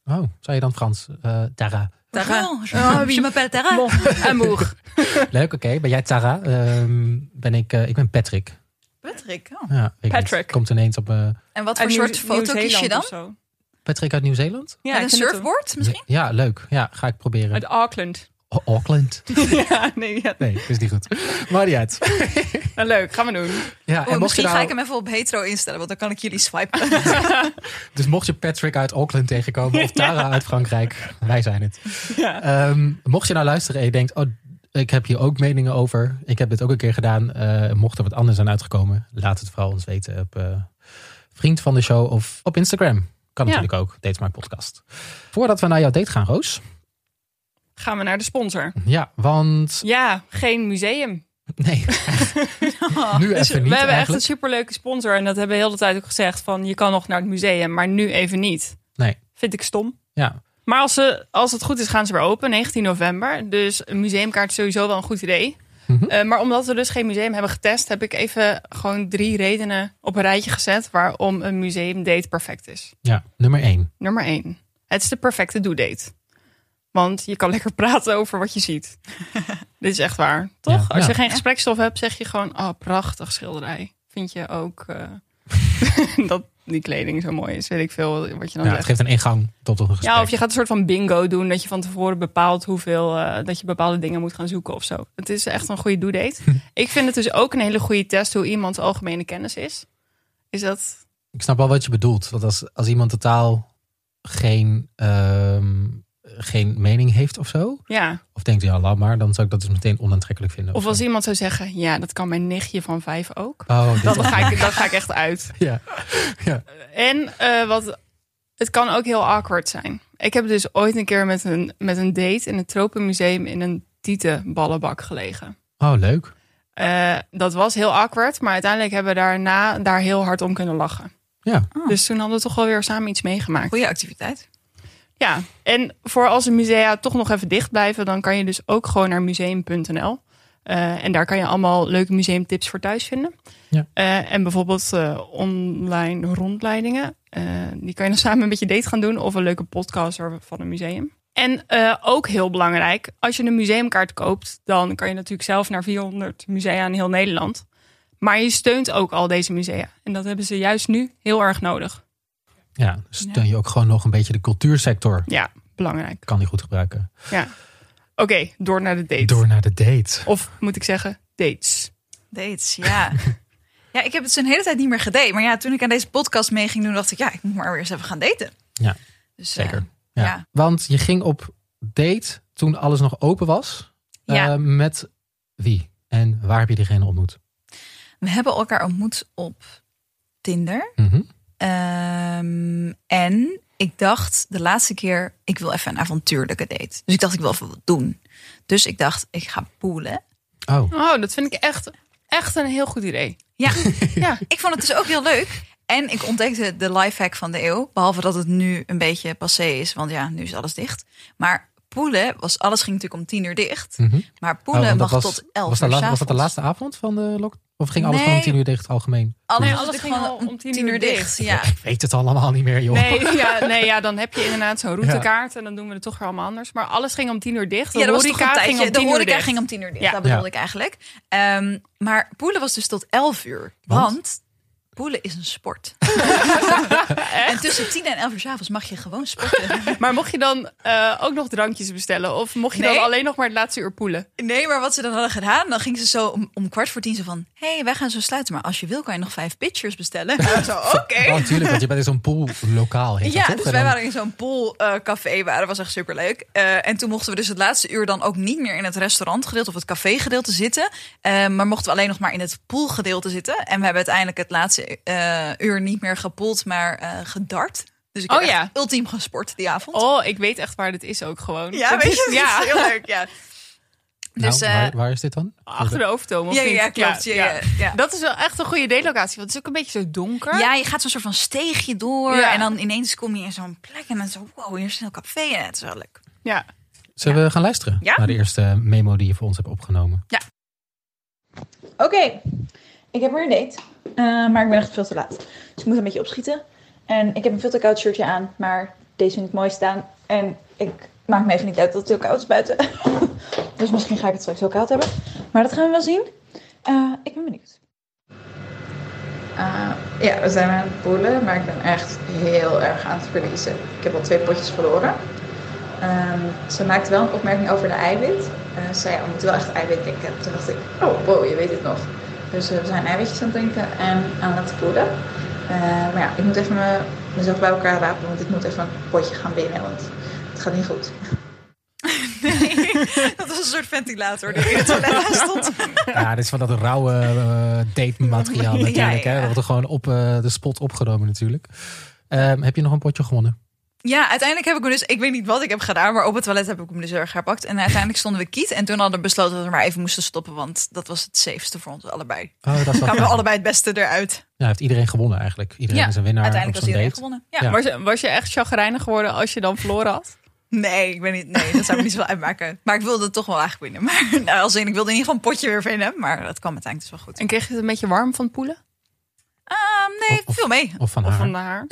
[SPEAKER 4] Oh, zou je dan Frans? eh Tara.
[SPEAKER 3] Tara.
[SPEAKER 2] Oh, wie-
[SPEAKER 3] Je m'appelle Tara.
[SPEAKER 2] Bon, amour.
[SPEAKER 4] Leuk, oké. Ben jij Tara? Ehm, ben ik, eh, ik ben Patrick.
[SPEAKER 3] Patrick. oh.
[SPEAKER 4] Ja, weet ik
[SPEAKER 2] Patrick.
[SPEAKER 4] niet. Komt ineens op eh,
[SPEAKER 3] En wat voor
[SPEAKER 2] Uit Nieuw-
[SPEAKER 3] soort foto kies je
[SPEAKER 2] Nieuw-Zeeland
[SPEAKER 3] dan?
[SPEAKER 2] of zo.
[SPEAKER 4] Patrick uit Nieuw-Zeeland?
[SPEAKER 2] Ja,
[SPEAKER 3] Met
[SPEAKER 2] ik
[SPEAKER 3] een
[SPEAKER 2] vind het
[SPEAKER 3] surfboard misschien?
[SPEAKER 4] Ja, leuk. Ja, ga ik
[SPEAKER 2] wel.
[SPEAKER 4] proberen.
[SPEAKER 2] Uit Auckland.
[SPEAKER 4] O- Auckland?
[SPEAKER 2] ja, nee, ja.
[SPEAKER 4] Nee, dat is niet goed. Maar niet uit.
[SPEAKER 2] Nou, leuk, gaan we doen.
[SPEAKER 4] Ja,
[SPEAKER 3] Oh,
[SPEAKER 4] en mocht je
[SPEAKER 3] misschien ga ik
[SPEAKER 4] nou,
[SPEAKER 3] hem even op hetero instellen, want dan kan ik jullie swipen.
[SPEAKER 4] dus mocht je Patrick uit Auckland tegenkomen of Tara uit Frankrijk, wij zijn het.
[SPEAKER 2] Ja.
[SPEAKER 4] Ehm, mocht je nou luisteren en je denkt, oh, ik heb hier ook meningen over. Ik heb dit ook een keer gedaan. eh, mocht er wat anders zijn uitgekomen, laat het vooral ons weten op eh, Vriend van de Show of op Instagram. Kan
[SPEAKER 2] Ja.
[SPEAKER 4] natuurlijk ook, Dates My Podcast. Voordat we naar jouw date gaan, Roos.
[SPEAKER 2] Gaan we naar de sponsor.
[SPEAKER 4] Ja, want
[SPEAKER 2] Ja, geen museum.
[SPEAKER 4] nee, nu
[SPEAKER 2] Dus
[SPEAKER 4] even niet
[SPEAKER 2] we hebben echt
[SPEAKER 4] eigenlijk.
[SPEAKER 2] een superleuke sponsor. En dat hebben we heel de hele tijd ook gezegd. Van, je kan nog naar het museum, maar nu even niet.
[SPEAKER 4] Nee,
[SPEAKER 2] Vind ik stom.
[SPEAKER 4] ja,
[SPEAKER 2] Maar als, ze, als het goed is, gaan ze weer open, 19 november. Dus een museumkaart is sowieso wel een goed idee.
[SPEAKER 4] Mhm.
[SPEAKER 2] Eh, maar omdat we dus geen museum hebben getest, heb ik even gewoon drie redenen op een rijtje gezet waarom een museumdate perfect is.
[SPEAKER 4] ja, nummer één.
[SPEAKER 2] Nummer 1. Het is de perfecte do-date. Want je kan lekker praten over wat je ziet. Dit is echt waar, toch?
[SPEAKER 4] Ja.
[SPEAKER 2] Als je
[SPEAKER 4] Ja.
[SPEAKER 2] geen gesprekstof hebt, zeg je gewoon... Oh, prachtig schilderij. Vind je ook eh, dat die kleding zo mooi is? Weet ik veel wat je dan
[SPEAKER 4] Ja, het
[SPEAKER 2] zegt.
[SPEAKER 4] geeft een ingang tot een gesprek.
[SPEAKER 2] Ja, of je gaat een soort van bingo doen. Dat je van tevoren bepaalt hoeveel... eh, dat je bepaalde dingen moet gaan zoeken of zo. Het is echt een goede do-date. ik vind het dus ook een hele goede test... hoe iemands algemene kennis is. Is dat
[SPEAKER 4] Ik snap wel wat je bedoelt. Dat als, als iemand totaal geen ehm, eh, geen mening heeft of zo.
[SPEAKER 2] Ja.
[SPEAKER 4] Of denkt, ja, laat maar. Dan zou ik dat dus meteen onaantrekkelijk vinden.
[SPEAKER 2] Of
[SPEAKER 4] zo.
[SPEAKER 2] als iemand zou zeggen, ja, dat kan mijn nichtje van vijf ook.
[SPEAKER 4] Oh, dit-
[SPEAKER 2] Dan ga ik, dan ga ik echt uit.
[SPEAKER 4] ja.
[SPEAKER 2] En eh, wat, het kan ook heel awkward zijn. Ik heb dus ooit een keer met een, met een date in het Tropenmuseum in een tietenballenbak gelegen.
[SPEAKER 4] Oh, leuk.
[SPEAKER 2] Eh, dat was heel awkward, maar uiteindelijk hebben we daarna daar heel hard om kunnen lachen.
[SPEAKER 4] Ja.
[SPEAKER 2] Dus toen hadden we toch wel weer samen iets meegemaakt.
[SPEAKER 3] Goede activiteit.
[SPEAKER 2] Ja, en voor als de musea toch nog even dicht blijven, dan kan je dus ook gewoon naar museum.nl. Eh, en daar kan je allemaal leuke museumtips voor thuis vinden.
[SPEAKER 4] Ja.
[SPEAKER 2] Eh, en bijvoorbeeld eh, online rondleidingen. Eh, die kan je dan samen met je date gaan doen. Of een leuke podcast over- van een museum. En eh, ook heel belangrijk, als je een museumkaart koopt, dan kan je natuurlijk zelf naar 400 musea in heel Nederland. Maar je steunt ook al deze musea. En dat hebben ze juist nu heel erg nodig.
[SPEAKER 4] Ja, dus steun je ook gewoon nog een beetje de cultuursector.
[SPEAKER 2] Ja, belangrijk.
[SPEAKER 4] Kan die goed gebruiken.
[SPEAKER 2] Ja. Oké, door naar de date.
[SPEAKER 4] Door naar de date.
[SPEAKER 2] Of moet ik zeggen, dates.
[SPEAKER 3] Dates, ja. ja, ik heb het zo'n hele tijd niet meer gedate. Maar ja, toen ik aan deze podcast mee ging doen, dacht ik, ja, ik moet maar weer eens even gaan daten.
[SPEAKER 4] Ja,
[SPEAKER 3] Dus,
[SPEAKER 4] Zeker.
[SPEAKER 3] eh,
[SPEAKER 4] ja.
[SPEAKER 3] ja.
[SPEAKER 4] Want je ging op date toen alles nog open was.
[SPEAKER 3] Ja.
[SPEAKER 4] Eh, met wie? En waar heb je diegene ontmoet?
[SPEAKER 3] we hebben elkaar ontmoet op Tinder.
[SPEAKER 4] Mhm.
[SPEAKER 3] Ehm, en ik dacht de laatste keer, ik wil even een avontuurlijke date. Dus ik dacht, ik wil even wat doen. Dus ik dacht, ik ga poelen.
[SPEAKER 4] Oh,
[SPEAKER 2] Oh, dat vind ik echt, echt een heel goed idee.
[SPEAKER 3] Ja,
[SPEAKER 2] Ja.
[SPEAKER 3] ik vond het dus ook heel leuk. En ik ontdekte de lifehack van de eeuw. Behalve dat het nu een beetje passé is, want ja, nu is alles dicht. Maar poelen, was, alles ging natuurlijk om tien uur dicht.
[SPEAKER 4] Mhm.
[SPEAKER 3] Maar
[SPEAKER 4] Oh,
[SPEAKER 3] poelen
[SPEAKER 4] want dat
[SPEAKER 3] mag
[SPEAKER 4] was,
[SPEAKER 3] tot elf
[SPEAKER 4] was, de
[SPEAKER 3] uur
[SPEAKER 4] laat- was dat de
[SPEAKER 3] s'avonds.
[SPEAKER 4] laatste avond van de lock? Of ging alles
[SPEAKER 3] Nee.
[SPEAKER 4] gewoon om tien uur dicht algemeen?
[SPEAKER 3] Alles,
[SPEAKER 2] Nee,
[SPEAKER 3] was
[SPEAKER 2] alles
[SPEAKER 3] natuurlijk
[SPEAKER 2] ging
[SPEAKER 3] gewoon
[SPEAKER 2] al
[SPEAKER 3] om tien uur dicht. Ja.
[SPEAKER 4] Ik weet het allemaal niet meer, joh.
[SPEAKER 2] Nee, ja, nee ja, dan heb je inderdaad zo'n routekaart en dan doen we het toch weer allemaal anders. Maar alles ging om tien uur dicht. De
[SPEAKER 3] Ja, dat was toch
[SPEAKER 2] horeca
[SPEAKER 3] een
[SPEAKER 2] ging om
[SPEAKER 3] tijdje. De
[SPEAKER 2] tien uur
[SPEAKER 3] horeca
[SPEAKER 2] dicht.
[SPEAKER 3] ging om tien uur dicht.
[SPEAKER 2] Ja.
[SPEAKER 3] Dat bedoelde
[SPEAKER 4] Ja.
[SPEAKER 3] ik eigenlijk. Ehm, maar poelen was dus tot elf uur.
[SPEAKER 4] Want?
[SPEAKER 3] Want, poelen is een sport. en tussen tien en elf uur 's avonds mag je gewoon sporten.
[SPEAKER 2] Maar mocht je dan eh, ook nog drankjes bestellen? Of mocht je
[SPEAKER 3] Nee.
[SPEAKER 2] dan alleen nog maar het laatste uur poelen?
[SPEAKER 3] Nee, maar wat ze dan hadden gedaan, dan ging ze zo om, om kwart voor tien zo van... hé, hey, wij gaan zo sluiten, maar als je wil kan je nog vijf pitchers bestellen. En ik zo, oké.
[SPEAKER 4] Oh, natuurlijk, want je bent in zo'n poollokaal. heet dat,
[SPEAKER 3] Ja,
[SPEAKER 4] toch?
[SPEAKER 3] dus
[SPEAKER 4] En
[SPEAKER 3] wij
[SPEAKER 4] dan-
[SPEAKER 3] waren in zo'n poolcafé, café waar dat was echt superleuk. Eh en toen mochten we dus het laatste uur dan ook niet meer in het restaurantgedeelte of het cafégedeelte zitten. Eh, maar mochten we alleen nog maar in het poolgedeelte zitten. En we hebben uiteindelijk het laatste eh, uur niet meer gepoeld, maar eh, gedart. Dus ik
[SPEAKER 2] Oh
[SPEAKER 3] heb
[SPEAKER 2] ja.
[SPEAKER 3] echt ultiem gesport die avond.
[SPEAKER 2] Oh, ik weet echt waar dit is ook gewoon.
[SPEAKER 3] ja,
[SPEAKER 2] Dat
[SPEAKER 3] weet
[SPEAKER 2] is-
[SPEAKER 3] je, ja.
[SPEAKER 2] ja.
[SPEAKER 3] heel leuk, ja.
[SPEAKER 4] Nou,
[SPEAKER 3] dus, eh,
[SPEAKER 4] waar, waar is dit dan?
[SPEAKER 2] Achter de overtoom, of
[SPEAKER 3] Ja, ja,
[SPEAKER 2] niet?
[SPEAKER 3] ja, klopt. Ja, ja, ja.
[SPEAKER 2] Dat is wel echt een goede daylocatie. Want het is ook een beetje zo donker.
[SPEAKER 3] Ja, je gaat zo'n soort van steegje door
[SPEAKER 2] Ja.
[SPEAKER 3] en dan ineens kom je in zo'n plek en dan zo, wow, hier is een heel café en het is wel leuk.
[SPEAKER 2] ja.
[SPEAKER 4] Zullen we gaan luisteren
[SPEAKER 3] Ja?
[SPEAKER 4] naar de eerste memo die je voor ons hebt opgenomen?
[SPEAKER 1] Oké, ik heb weer een date. Eh, maar ik ben echt veel te laat. Dus ik moet een beetje opschieten. En ik heb een veel te koud shirtje aan. Maar deze vind ik mooi staan. En ik maak me even niet uit dat het heel koud is buiten. dus misschien ga ik het straks heel koud hebben. Maar dat gaan we wel zien. Eh, ik ben benieuwd. Eh, ja, we zijn aan het poelen. Maar ik ben echt heel erg aan het verliezen. Ik heb al twee potjes verloren. Ehm, ze maakte wel een opmerking over de eiwit. Eh, ze zei, oh, we moeten wel echt eiwit denken. Toen dacht ik, oh wow, je weet het nog. Dus eh, we zijn eiwitjes aan het drinken en aan het poelen. Eh, maar ja, ik moet even me, mezelf bij elkaar rapen, want ik moet even een potje gaan winnen, want het gaat niet goed.
[SPEAKER 3] dat was een soort ventilator die in het toilet aan stond.
[SPEAKER 4] Ja, dit is van dat rauwe eh, date-materiaal natuurlijk.
[SPEAKER 3] Ja, ja.
[SPEAKER 4] Hè? Dat wordt er gewoon op eh, de spot opgenomen natuurlijk. Ehm, heb je nog een potje gewonnen?
[SPEAKER 3] Ja, uiteindelijk heb ik me dus, ik weet niet wat ik heb gedaan, maar op het toilet heb ik hem dus heel erg gepakt. En uiteindelijk stonden we kiet en toen hadden we besloten dat we maar even moesten stoppen, want dat was het safeste voor ons allebei.
[SPEAKER 4] Oh, dat is wel
[SPEAKER 3] Kwamen we
[SPEAKER 4] fijn.
[SPEAKER 3] allebei het beste eruit.
[SPEAKER 4] Ja, heeft iedereen gewonnen eigenlijk. Iedereen
[SPEAKER 3] Ja,
[SPEAKER 4] is een winnaar
[SPEAKER 3] uiteindelijk
[SPEAKER 4] op
[SPEAKER 3] was
[SPEAKER 4] zo'n
[SPEAKER 3] iedereen
[SPEAKER 4] date.
[SPEAKER 3] gewonnen. Ja.
[SPEAKER 4] Ja.
[SPEAKER 2] Was, je, was je echt chagrijnig geworden als je dan verloren had?
[SPEAKER 3] Nee, ik ben niet, nee, dat zou me niet zoveel uitmaken. Maar ik wilde het toch wel eigenlijk winnen. Maar nou, als in, ik wilde in ieder geval een potje weer winnen, maar dat kwam uiteindelijk dus wel goed.
[SPEAKER 2] En kreeg je het een beetje warm van het poelen?
[SPEAKER 3] Ehm, nee,
[SPEAKER 4] Of-
[SPEAKER 3] veel mee.
[SPEAKER 4] Of van
[SPEAKER 2] Of
[SPEAKER 4] haar.
[SPEAKER 2] van de haar?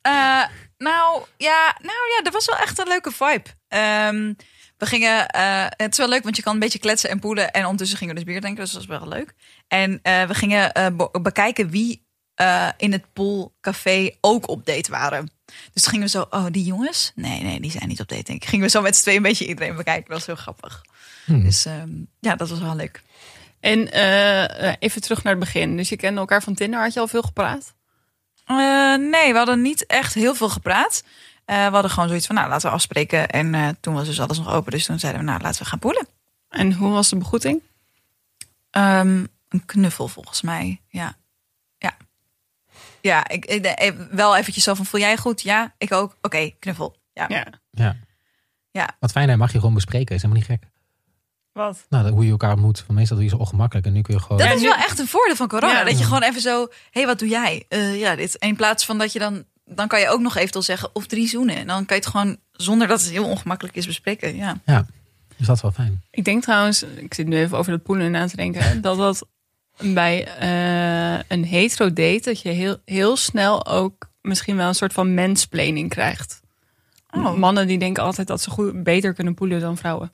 [SPEAKER 3] Eh, nou, ja, nou ja, dat was wel echt een leuke vibe. Ehm, we gingen, eh, het is wel leuk, want je kan een beetje kletsen en poelen. En ondertussen gingen we dus bier drinken, dus dat was wel leuk. En eh, we gingen eh, be- bekijken wie eh, in het poolcafé ook op date waren. Dus gingen we zo, oh, die jongens? Nee, nee, die zijn niet op date, denk ik. Gingen we zo met z'n tweeën een beetje iedereen bekijken. Dat was heel grappig. Dus ehm, ja, dat was wel leuk.
[SPEAKER 2] En eh, eh, even terug naar het begin. Dus je kende elkaar van Tinder. Had je al veel gepraat?
[SPEAKER 3] Eh, nee, we hadden niet echt heel veel gepraat. Eh, we hadden gewoon zoiets van, nou, laten we afspreken. En eh, toen was dus alles nog open. Dus toen zeiden we, nou, laten we gaan poelen.
[SPEAKER 2] En hoe was de begroeting?
[SPEAKER 3] Ehm, een knuffel volgens mij, ja. Ja, ja ik, ik- eh, wel eventjes zo van, voel jij je goed? Ja, ik ook. Oké, knuffel. Ja.
[SPEAKER 2] Ja.
[SPEAKER 4] Ja.
[SPEAKER 3] Ja.
[SPEAKER 4] Wat fijn, hè, mag je gewoon bespreken. Is helemaal niet gek.
[SPEAKER 2] Wat?
[SPEAKER 4] Nou, dat- hoe je elkaar ontmoet. Want meestal doe je zo ongemakkelijk. En nu kun je gewoon...
[SPEAKER 3] Dat
[SPEAKER 2] Ja,
[SPEAKER 3] is
[SPEAKER 2] nu-
[SPEAKER 3] wel echt een voordeel van corona.
[SPEAKER 2] Ja.
[SPEAKER 3] Dat je gewoon even zo, hé, hey, wat doe jij? Eh, ja, dit. En in plaats van dat je dan, dan kan je ook nog eventueel zeggen, of drie zoenen. En dan kan je het gewoon, zonder dat het heel ongemakkelijk is, bespreken. Ja.
[SPEAKER 4] Dus dat is wel fijn.
[SPEAKER 2] Ik denk trouwens, ik zit nu even over dat poelen na te denken, dat dat bij eh, een hetero date, dat je heel, heel snel ook misschien wel een soort van mensplanning krijgt.
[SPEAKER 3] Oh.
[SPEAKER 2] Mannen die denken altijd dat ze goed, beter kunnen poelen dan vrouwen.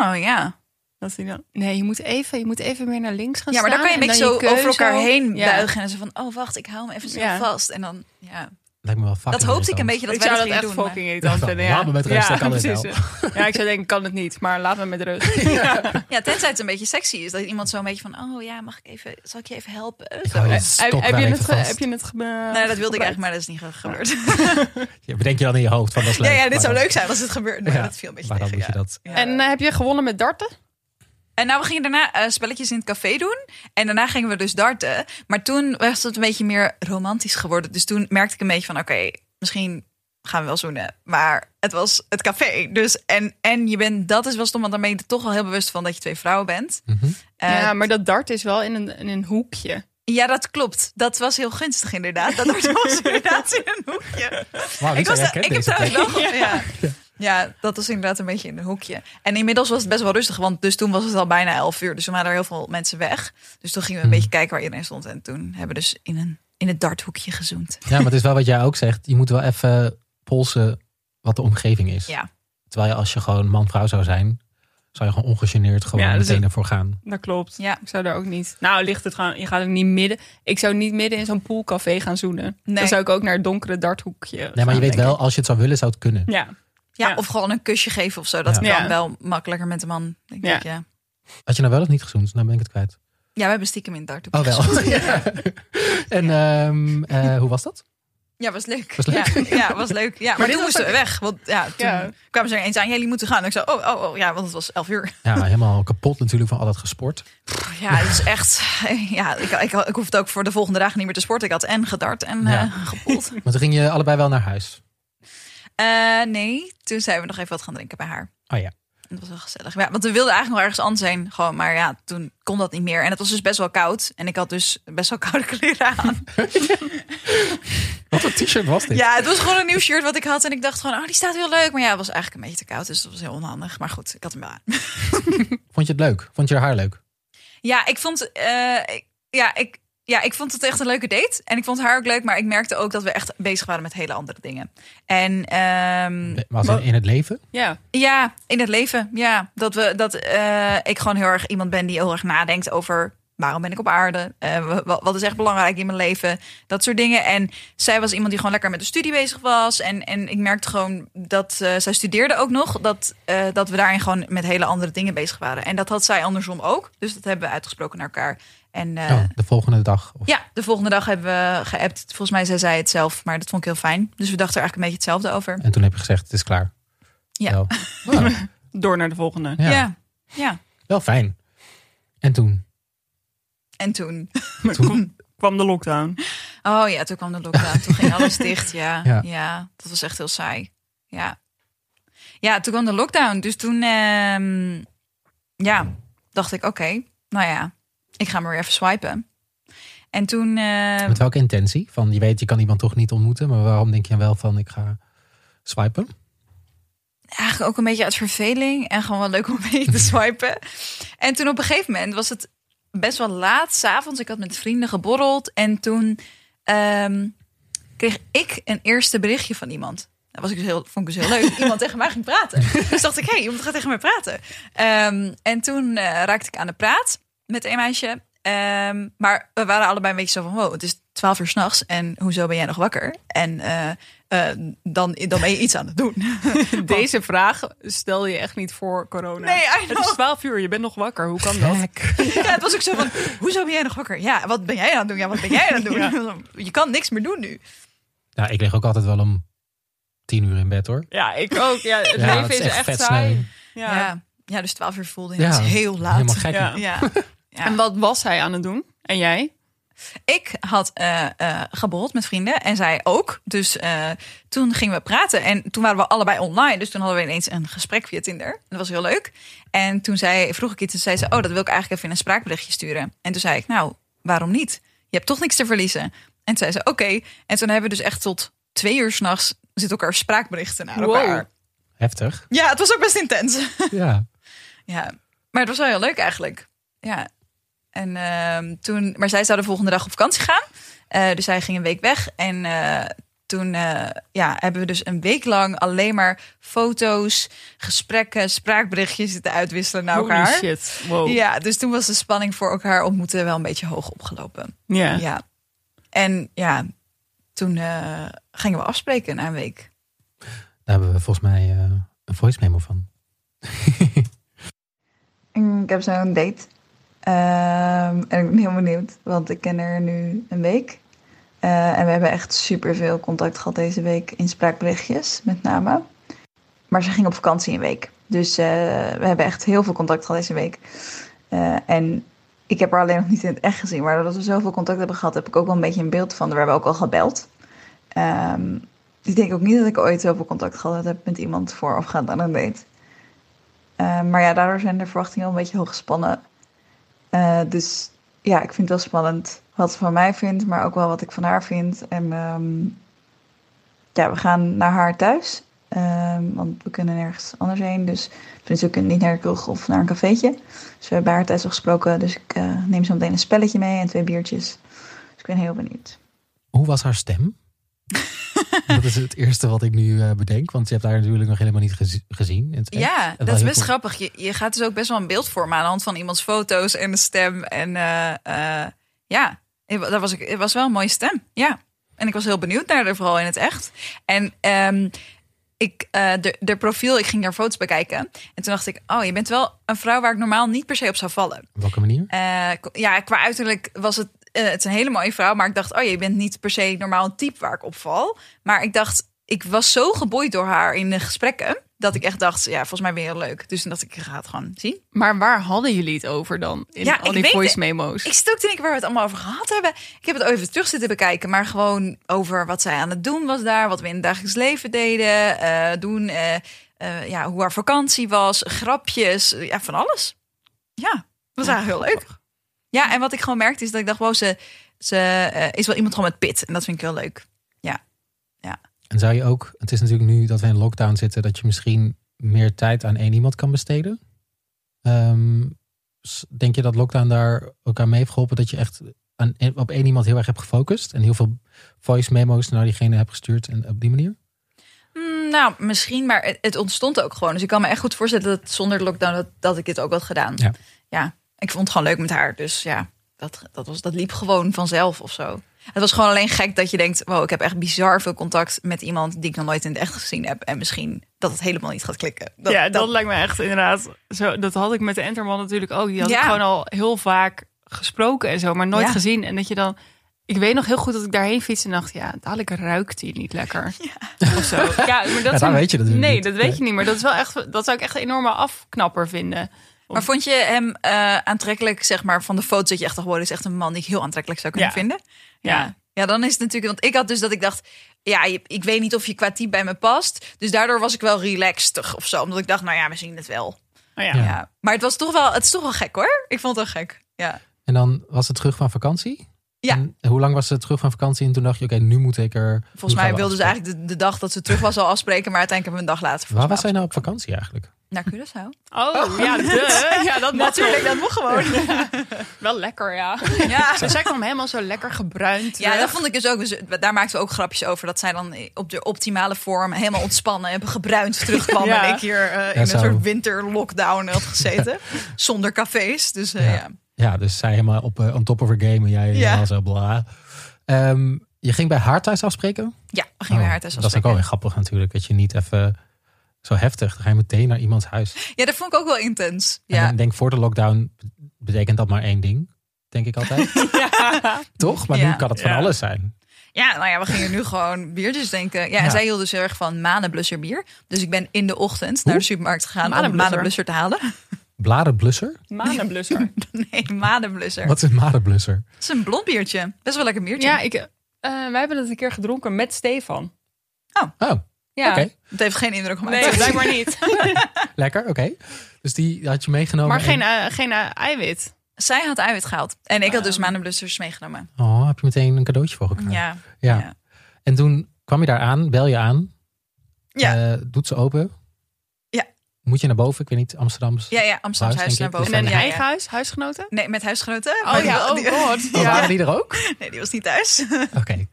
[SPEAKER 3] Oh, ja.
[SPEAKER 2] Dat die dan, nee, je moet even, je moet even meer naar links gaan
[SPEAKER 3] Ja, maar dan
[SPEAKER 2] staan
[SPEAKER 3] kan je een
[SPEAKER 2] en
[SPEAKER 3] beetje zo
[SPEAKER 2] je keuze
[SPEAKER 3] over elkaar
[SPEAKER 2] op-
[SPEAKER 3] heen
[SPEAKER 2] Ja.
[SPEAKER 3] buigen. En zo van, oh wacht, ik hou hem even snel
[SPEAKER 2] Ja.
[SPEAKER 3] vast. En dan, ja.
[SPEAKER 4] Lijkt me wel
[SPEAKER 3] Dat
[SPEAKER 4] fucking
[SPEAKER 3] hoopte ik
[SPEAKER 4] irritant.
[SPEAKER 3] een beetje dat
[SPEAKER 2] ik
[SPEAKER 3] wij
[SPEAKER 2] zou dat
[SPEAKER 3] dat gingen
[SPEAKER 2] echt
[SPEAKER 3] doen. maar-
[SPEAKER 2] fucking irritant
[SPEAKER 4] Ja,
[SPEAKER 2] vinden. Ja.
[SPEAKER 4] Nou, laat me met rust,
[SPEAKER 2] Ja,
[SPEAKER 4] ik kan het
[SPEAKER 2] precies.
[SPEAKER 4] wel.
[SPEAKER 2] Ja, ik zou denken, kan het niet, maar laat me met rust.
[SPEAKER 3] Ja, tenzij het een beetje sexy is. Dat iemand zo een beetje van, oh ja, mag ik even, zal ik je even helpen? Eh,
[SPEAKER 4] Ik
[SPEAKER 3] Zo.
[SPEAKER 4] hou
[SPEAKER 3] Nee,
[SPEAKER 4] je
[SPEAKER 2] Heb-
[SPEAKER 4] stok
[SPEAKER 2] heb,
[SPEAKER 4] wel
[SPEAKER 2] je
[SPEAKER 4] even
[SPEAKER 2] het ge-
[SPEAKER 4] vast.
[SPEAKER 2] heb je het ge-
[SPEAKER 3] nou, dat wilde ik
[SPEAKER 2] gebruikt?
[SPEAKER 3] eigenlijk, maar dat is niet ge- gebeurd.
[SPEAKER 4] Ja, bedenk je dan in je hoofd van dat is
[SPEAKER 3] Ja,
[SPEAKER 4] leuk.
[SPEAKER 3] ja, dit
[SPEAKER 4] maar
[SPEAKER 3] zou
[SPEAKER 4] dan-
[SPEAKER 3] leuk zijn als het gebeurt. Maar
[SPEAKER 4] Ja,
[SPEAKER 3] dat viel een beetje
[SPEAKER 4] Maar dan
[SPEAKER 3] tegen,
[SPEAKER 4] moet je
[SPEAKER 3] ja.
[SPEAKER 4] dat...
[SPEAKER 3] Ja.
[SPEAKER 2] En eh, heb je gewonnen met darten?
[SPEAKER 3] En nou, we gingen daarna eh, spelletjes in het café doen. En daarna gingen we dus darten. Maar toen was het een beetje meer romantisch geworden. Dus toen merkte ik een beetje van, oké, misschien gaan we wel zoenen. Maar het was het café. Dus en, en je bent, dat is wel stom, want dan ben je er toch wel heel bewust van dat je twee vrouwen bent.
[SPEAKER 4] Mhm.
[SPEAKER 3] Eh,
[SPEAKER 2] ja, maar dat dart is wel in een, in een hoekje.
[SPEAKER 3] ja, dat klopt. Dat was heel gunstig inderdaad. Dat was inderdaad in een hoekje.
[SPEAKER 4] Wauw,
[SPEAKER 3] Ik,
[SPEAKER 4] Lisa
[SPEAKER 3] was da-
[SPEAKER 4] herkent
[SPEAKER 3] ik heb
[SPEAKER 4] deze
[SPEAKER 3] trouwens
[SPEAKER 4] plek.
[SPEAKER 3] wel... Ja. Ja. dat was inderdaad een beetje in een hoekje. En inmiddels was het best wel rustig, want dus toen was het al bijna elf uur. Dus toen waren er heel veel mensen weg. Dus toen gingen we
[SPEAKER 4] Hmm.
[SPEAKER 3] een beetje kijken waar iedereen stond. En toen hebben we dus in, een, in het darthoekje gezoend.
[SPEAKER 4] Ja, maar het is wel wat jij ook zegt. Je moet wel even polsen wat de omgeving is.
[SPEAKER 3] Ja.
[SPEAKER 4] Terwijl je als je gewoon man-vrouw zou zijn, zou je gewoon ongegeneerd gewoon
[SPEAKER 2] Ja, dus
[SPEAKER 4] meteen
[SPEAKER 2] het-
[SPEAKER 4] ervoor gaan.
[SPEAKER 2] Dat klopt.
[SPEAKER 3] Ja.
[SPEAKER 2] Ik zou daar ook niet. Nou, ligt het gewoon. Je gaat ook niet midden. Ik zou niet midden in zo'n poolcafé gaan zoenen.
[SPEAKER 3] Nee.
[SPEAKER 2] Dan zou ik ook naar het donkere darthoekje.
[SPEAKER 4] Nee, maar
[SPEAKER 2] gaan,
[SPEAKER 4] je weet
[SPEAKER 2] denk
[SPEAKER 4] wel, als je het zou willen, zou het kunnen.
[SPEAKER 2] ik. Ja.
[SPEAKER 3] Ja,
[SPEAKER 2] Ja.
[SPEAKER 3] Of gewoon een kusje geven of zo. Dat
[SPEAKER 4] Ja.
[SPEAKER 3] kan
[SPEAKER 2] Ja.
[SPEAKER 3] wel makkelijker met de man. Denk
[SPEAKER 2] Ja.
[SPEAKER 3] ik, ja.
[SPEAKER 4] Had je nou wel of niet gezoend? Dan ben ik het kwijt.
[SPEAKER 3] ja, we hebben stiekem in het darthoekje
[SPEAKER 4] Oh,
[SPEAKER 3] gezoend.
[SPEAKER 4] wel. Ja. En ehm, eh, hoe was dat?
[SPEAKER 3] Ja, was leuk.
[SPEAKER 4] Was leuk?
[SPEAKER 3] Ja, ja, was leuk. Ja, maar,
[SPEAKER 2] dit
[SPEAKER 3] toen
[SPEAKER 2] was
[SPEAKER 3] moesten we weg. Want ja, toen
[SPEAKER 2] Ja.
[SPEAKER 3] kwamen ze er eens aan. Ja, jullie moeten gaan. En ik zei, oh, oh, oh, ja, want het was elf uur.
[SPEAKER 4] Ja, helemaal kapot natuurlijk van al dat gesport.
[SPEAKER 3] Ja, het is echt. Ja, ik, ik, ik hoefde ook voor de volgende dagen niet meer te sporten. Ik had en gedart en eh
[SPEAKER 4] Ja.
[SPEAKER 3] gepoeld.
[SPEAKER 4] Maar toen ging je allebei wel naar huis.
[SPEAKER 3] Eh, nee, toen zijn we nog even wat gaan drinken bij haar.
[SPEAKER 4] Oh ja.
[SPEAKER 3] Dat was wel gezellig. Ja, want we wilden eigenlijk nog ergens anders zijn. Gewoon, maar ja, toen kon dat niet meer. En het was dus best wel koud. En ik had dus best wel koude kleren aan.
[SPEAKER 4] Wat een t-shirt was dit?
[SPEAKER 3] Ja, het was gewoon een nieuw shirt wat ik had. En ik dacht gewoon, oh, die staat heel leuk. Maar ja, het was eigenlijk een beetje te koud. Dus dat was heel onhandig. Maar goed, ik had hem wel aan.
[SPEAKER 4] Vond je het leuk? Vond je haar haar leuk?
[SPEAKER 3] Ja, ik vond, eh, ik- ja, ik, ja, ik vond het echt een leuke date. En ik vond haar ook leuk, maar ik merkte ook dat we echt bezig waren met hele andere dingen. En ehm,
[SPEAKER 4] Was in, in het leven?
[SPEAKER 2] Ja.
[SPEAKER 3] ja, in het leven, ja. Dat, we, dat eh, ik gewoon heel erg iemand ben die heel erg nadenkt over waarom ben ik op aarde? Eh, wa- wa- wat is echt belangrijk in mijn leven? Dat soort dingen. En zij was iemand die gewoon lekker met de studie bezig was. En, en ik merkte gewoon dat eh, zij studeerde ook nog. Dat, eh, dat we daarin gewoon met hele andere dingen bezig waren. En dat had zij andersom ook. Dus dat hebben we uitgesproken naar elkaar. En eh,
[SPEAKER 4] Oh, de volgende dag? Of...
[SPEAKER 3] ja, de volgende dag hebben we geappt. Volgens mij zei zij het zelf, maar dat vond ik heel fijn. Dus we dachten er eigenlijk een beetje hetzelfde over.
[SPEAKER 4] En toen heb je gezegd, het is klaar.
[SPEAKER 3] Ja.
[SPEAKER 4] Wel, Nou,
[SPEAKER 2] Door naar de volgende.
[SPEAKER 4] ja,
[SPEAKER 3] ja. ja.
[SPEAKER 4] wel fijn. En toen?
[SPEAKER 3] En toen...
[SPEAKER 4] Toen?
[SPEAKER 2] Kwam de lockdown.
[SPEAKER 3] Oh ja, toen kwam de lockdown. Toen ging alles dicht. Ja,
[SPEAKER 4] Ja.
[SPEAKER 3] ja. dat was echt heel saai. Ja. Ja, toen kwam de lockdown. Dus toen, ehm, ja, dacht ik, oké, nou ja, ik ga maar weer even swipen. En toen, eh,
[SPEAKER 4] Met welke intentie? Van, je weet, je kan iemand toch niet ontmoeten. Maar waarom denk je wel van, ik ga swipen?
[SPEAKER 3] eigenlijk ook een beetje uit verveling en gewoon wel leuk om mee te swipen. En toen op een gegeven moment was het best wel laat, s'avonds. Ik had met vrienden geborreld en toen ehm, kreeg ik een eerste berichtje van iemand. Dat was ik dus heel, vond ik dus heel leuk. Iemand tegen mij ging praten. Dus dacht ik, hé, hey, iemand gaat tegen mij praten. Ehm, en toen eh, raakte ik aan de praat met een meisje. Ehm, maar we waren allebei een beetje zo van, wow, het is twaalf uur s'nachts. En hoezo ben jij nog wakker? En eh, eh, dan, dan ben je iets aan het doen.
[SPEAKER 2] Deze vraag stel je echt niet voor corona.
[SPEAKER 3] Nee, I
[SPEAKER 2] het
[SPEAKER 3] know.
[SPEAKER 2] is 12 uur. Je bent nog wakker. Hoe kan dat?
[SPEAKER 3] Ja, het was ook zo van, hoezo ben jij nog wakker? Ja, wat ben jij aan het doen? Ja, wat ben jij aan het doen? Je kan niks meer doen nu.
[SPEAKER 4] Nou, ik lig ook altijd wel om tien uur in bed hoor.
[SPEAKER 2] Ja, ik ook. Ja, het
[SPEAKER 4] ja,
[SPEAKER 2] leven is, echt, saai. Ja.
[SPEAKER 3] Ja. ja, dus 12 uur voelde
[SPEAKER 4] Ja,
[SPEAKER 3] ja, heel laat.
[SPEAKER 4] Helemaal gek.
[SPEAKER 2] Ja.
[SPEAKER 3] Ja. Ja.
[SPEAKER 2] En wat was hij aan het doen? En jij?
[SPEAKER 3] Ik had eh eh, gebold met vrienden en zij ook. Dus eh, toen gingen we praten en toen waren we allebei online. Dus toen hadden we ineens een gesprek via Tinder. Dat was heel leuk. En toen zei, vroeg ik iets en zei ze... oh, dat wil ik eigenlijk even in een spraakberichtje sturen. En toen zei ik, nou, waarom niet? Je hebt toch niks te verliezen. En toen zei ze, oké. En toen hebben we dus echt tot twee uur s'nachts... zitten elkaar spraakberichten naar
[SPEAKER 2] Wow.
[SPEAKER 3] elkaar.
[SPEAKER 4] Heftig.
[SPEAKER 3] Ja, het was ook best intens.
[SPEAKER 4] Ja.
[SPEAKER 3] Ja, maar het was wel heel leuk eigenlijk. Ja. En ehm, toen, maar zij zou de volgende dag op vakantie gaan. Eh, dus zij ging een week weg. En eh, toen eh, ja, hebben we dus een week lang alleen maar foto's, gesprekken, spraakberichtjes zitten uitwisselen naar
[SPEAKER 2] Holy
[SPEAKER 3] elkaar.
[SPEAKER 2] shit. Oh. Wow. Ja.
[SPEAKER 3] Ja, dus toen was de spanning voor elkaar ontmoeten wel een beetje hoog opgelopen. Ja. En ja, toen eh, gingen we afspreken na een week.
[SPEAKER 4] Daar hebben we volgens mij eh, een voice memo van.
[SPEAKER 3] Ik heb zo'n date. Ehm, en ik ben heel benieuwd, want ik ken haar nu een week. Eh, en we hebben echt superveel contact gehad deze week in spraakberichtjes, met name. Maar ze ging op vakantie een week. Dus eh, we hebben echt heel veel contact gehad deze week. Eh, en ik heb haar alleen nog niet in het echt gezien. Maar doordat we zoveel contact hebben gehad, heb ik ook wel een beetje een beeld van. haar. We hebben ook al gebeld. Ehm, ik denk ook niet dat ik ooit zoveel contact gehad heb met iemand voorafgaand aan een date. Eh, maar ja, daardoor zijn de verwachtingen wel een beetje hoog gespannen. Eh, dus ja, ik vind het wel spannend wat ze van mij vindt, maar ook wel wat ik van haar vind. En ehm, ja, we gaan naar haar thuis, ehm, want we kunnen nergens anders heen. Dus tenminste, we kunnen niet naar de kroeg of naar een cafeetje. Dus we hebben bij haar thuis al gesproken, dus ik eh, neem zo meteen een spelletje mee en twee biertjes. Dus ik ben heel benieuwd.
[SPEAKER 4] Hoe was haar stem? dat is het eerste wat ik nu eh, bedenk, want je hebt haar natuurlijk nog helemaal niet gezi- gezien. in het echt.
[SPEAKER 3] Ja,
[SPEAKER 4] wel
[SPEAKER 3] dat is
[SPEAKER 4] heel
[SPEAKER 3] best
[SPEAKER 4] goed.
[SPEAKER 3] grappig. Je, je gaat dus ook best wel een beeld vormen aan de hand van iemands foto's en de stem. En eh, eh, ja, het wa- dat was, ik- het was wel een mooie stem. Ja. En ik was heel benieuwd naar haar, vooral in het echt. En ehm, ik, eh, de, de profiel, ik ging daar foto's bekijken. En toen dacht ik, oh, je bent wel een vrouw waar ik normaal niet per se op zou vallen.
[SPEAKER 4] Op welke manier?
[SPEAKER 3] Eh, k- ja, qua uiterlijk was het, eh, het is een hele mooie vrouw. Maar ik dacht, oh, je bent niet per se normaal een type waar ik op val. Maar ik dacht, ik was zo geboeid door haar in de gesprekken. Dat ik echt dacht, ja, volgens mij ben je heel leuk. Dus toen dacht ik, ik ga het gewoon zien.
[SPEAKER 2] Maar waar hadden jullie het over dan? In
[SPEAKER 3] Ja,
[SPEAKER 2] al
[SPEAKER 3] ik
[SPEAKER 2] die
[SPEAKER 3] weet
[SPEAKER 2] voice
[SPEAKER 3] het.
[SPEAKER 2] memo's.
[SPEAKER 3] Ik stuk toen ik waar we het allemaal over gehad hebben. Ik heb het ook even terug zitten bekijken. Maar gewoon over wat zij aan het doen was daar. Wat we in het dagelijks leven deden. eh, doen. eh, eh, ja, hoe haar vakantie was. Grapjes. eh, ja, van alles. Ja, dat was eigenlijk heel leuk. Ja, en wat ik gewoon merkte is dat ik dacht, wow, ze, ze eh, is wel iemand gewoon met pit. En dat vind ik heel leuk.
[SPEAKER 4] En zou je ook, het is natuurlijk nu dat we in lockdown zitten, dat je misschien meer tijd aan één iemand kan besteden? Ehm, s- denk je dat lockdown daar ook aan mee heeft geholpen? Dat je echt aan, e, op één iemand heel erg hebt gefocust en heel veel voice memo's naar diegene hebt gestuurd en op die manier?
[SPEAKER 3] Mm, nou, misschien, maar het, het ontstond ook gewoon. Dus ik kan me echt goed voorstellen dat zonder de lockdown dat, dat ik dit ook had gedaan.
[SPEAKER 4] Ja.
[SPEAKER 3] Ja, ik vond het gewoon leuk met haar. Dus ja, dat, dat, was, dat liep gewoon vanzelf of zo. Het was gewoon alleen gek dat je denkt, wow, ik heb echt bizar veel contact met iemand die ik nog nooit in het echt gezien heb. En misschien dat het helemaal niet gaat klikken. Dat,
[SPEAKER 2] ja, dat, lijkt me echt inderdaad. Zo, dat had ik met de Enterman natuurlijk ook. Die had ik
[SPEAKER 3] Ja.
[SPEAKER 2] gewoon al heel vaak gesproken en zo, maar nooit
[SPEAKER 3] Ja.
[SPEAKER 2] gezien. En dat je dan. Ik weet nog heel goed dat ik daarheen fietste en dacht, ja, dadelijk ruikt die niet lekker. Of zo. Ja, maar dat
[SPEAKER 4] dat
[SPEAKER 2] zijn-
[SPEAKER 4] weet je natuurlijk
[SPEAKER 2] Nee,
[SPEAKER 4] niet.
[SPEAKER 2] dat weet
[SPEAKER 4] Nee.
[SPEAKER 2] je niet. Maar dat is wel echt, dat zou ik echt een enorme afknapper vinden.
[SPEAKER 3] Maar vond je hem eh, aantrekkelijk, zeg maar, van de foto's dat je echt dacht, wow, dit is echt een man die ik heel aantrekkelijk zou kunnen
[SPEAKER 2] Ja.
[SPEAKER 3] vinden?
[SPEAKER 2] Ja.
[SPEAKER 3] Ja, dan is het natuurlijk, want ik had dus dat ik dacht, ja, je- ik weet niet of je qua type bij me past. Dus daardoor was ik wel relaxed of zo, omdat ik dacht, nou ja, we zien het wel.
[SPEAKER 2] Nou ja.
[SPEAKER 3] Ja.
[SPEAKER 4] Ja.
[SPEAKER 3] Maar het was toch wel, het is toch wel gek hoor. Ik vond het wel gek. Ja.
[SPEAKER 4] En dan was het terug van vakantie?
[SPEAKER 3] Ja.
[SPEAKER 4] En hoe lang was ze terug van vakantie? En toen dacht je, oké, nu moet ik er...
[SPEAKER 3] Volgens mij wilden ze eigenlijk de, de dag dat ze terug was al afspreken, maar uiteindelijk hebben we een dag later.
[SPEAKER 4] Waar was
[SPEAKER 3] volgens
[SPEAKER 4] zij nou op vakantie eigenlijk?
[SPEAKER 3] mij af- Naar Curaçao.
[SPEAKER 2] Oh, ja, de, ja, dat natuurlijk.
[SPEAKER 3] Natuurlijk, dat mocht gewoon.
[SPEAKER 2] Wel lekker, ja.
[SPEAKER 3] Ja.
[SPEAKER 2] Dus zij kwam helemaal zo lekker gebruind.
[SPEAKER 3] Ja,
[SPEAKER 2] terug.
[SPEAKER 3] dat vond ik dus ook. Dus daar maakten we ook grapjes over. Dat zij dan op de optimale vorm helemaal ontspannen en gebruind terugkwam.
[SPEAKER 2] Ja.
[SPEAKER 3] En ik hier eh, in
[SPEAKER 4] Ja,
[SPEAKER 3] een
[SPEAKER 4] zo.
[SPEAKER 3] soort winterlockdown had gezeten. Zonder cafés. Dus eh,
[SPEAKER 4] Ja.
[SPEAKER 3] ja.
[SPEAKER 4] Ja, dus zij helemaal op, eh, on top of her game en jij helemaal zo bla. Ehm, je ging bij haar thuis afspreken?
[SPEAKER 3] Ja, we gingen
[SPEAKER 4] Oh,
[SPEAKER 3] naar haar thuis
[SPEAKER 4] Dat is ook wel weer grappig natuurlijk. Dat je niet even zo heftig, dan ga je meteen naar iemands huis.
[SPEAKER 3] Ja, dat vond ik ook wel intens.
[SPEAKER 4] En
[SPEAKER 3] Ja.
[SPEAKER 4] ik denk voor de lockdown betekent dat maar één ding. Denk ik altijd. Toch? Maar nu
[SPEAKER 3] Ja.
[SPEAKER 4] kan het van
[SPEAKER 2] Ja.
[SPEAKER 4] alles zijn.
[SPEAKER 3] Ja, nou ja, we gingen nu gewoon biertjes denken. Ja, en
[SPEAKER 4] Ja.
[SPEAKER 3] zij hield dus heel erg van manenblusser bier. Dus ik ben in de ochtend naar de supermarkt gegaan om
[SPEAKER 2] Manenblusser?
[SPEAKER 3] manenblusser te halen.
[SPEAKER 4] Bladerblusser?
[SPEAKER 2] Manenblusser.
[SPEAKER 3] Nee, manenblusser.
[SPEAKER 4] Wat is een madenblusser?
[SPEAKER 3] Het is een blond biertje. Best wel lekker biertje.
[SPEAKER 2] ja, ik, eh, wij hebben dat een keer gedronken met Stefan.
[SPEAKER 4] Oh, oké.
[SPEAKER 2] Ja.
[SPEAKER 3] Het heeft geen indruk op mij.
[SPEAKER 2] Nee, blijkbaar niet.
[SPEAKER 4] Lekker, oké. Dus die had je meegenomen.
[SPEAKER 2] Maar
[SPEAKER 4] en-
[SPEAKER 2] geen, eh, geen eh, eiwit.
[SPEAKER 3] Zij had eiwit gehaald. En
[SPEAKER 2] Ah.
[SPEAKER 3] ik had dus manenblussers meegenomen.
[SPEAKER 4] Oh, heb je meteen een cadeautje voor elkaar.
[SPEAKER 3] Ja.
[SPEAKER 4] Ja.
[SPEAKER 3] ja.
[SPEAKER 4] En toen kwam je daar aan, bel je aan.
[SPEAKER 3] Ja.
[SPEAKER 4] Eh, doet ze open.
[SPEAKER 3] Ja.
[SPEAKER 4] Moet je naar boven? Ik weet niet, Amsterdams.
[SPEAKER 3] Ja, ja, Amsterdam
[SPEAKER 4] Huis,
[SPEAKER 3] huis naar
[SPEAKER 4] denk ik.
[SPEAKER 3] boven.
[SPEAKER 2] En een
[SPEAKER 3] ja, ja.
[SPEAKER 2] eigen huis, huisgenoten?
[SPEAKER 3] Nee, met huisgenoten.
[SPEAKER 2] Oh
[SPEAKER 3] Maar die-
[SPEAKER 2] ja, oh
[SPEAKER 3] die-
[SPEAKER 2] god. Ja.
[SPEAKER 4] Oh, Waren die er ook?
[SPEAKER 3] Nee, die was niet thuis.
[SPEAKER 4] Oké.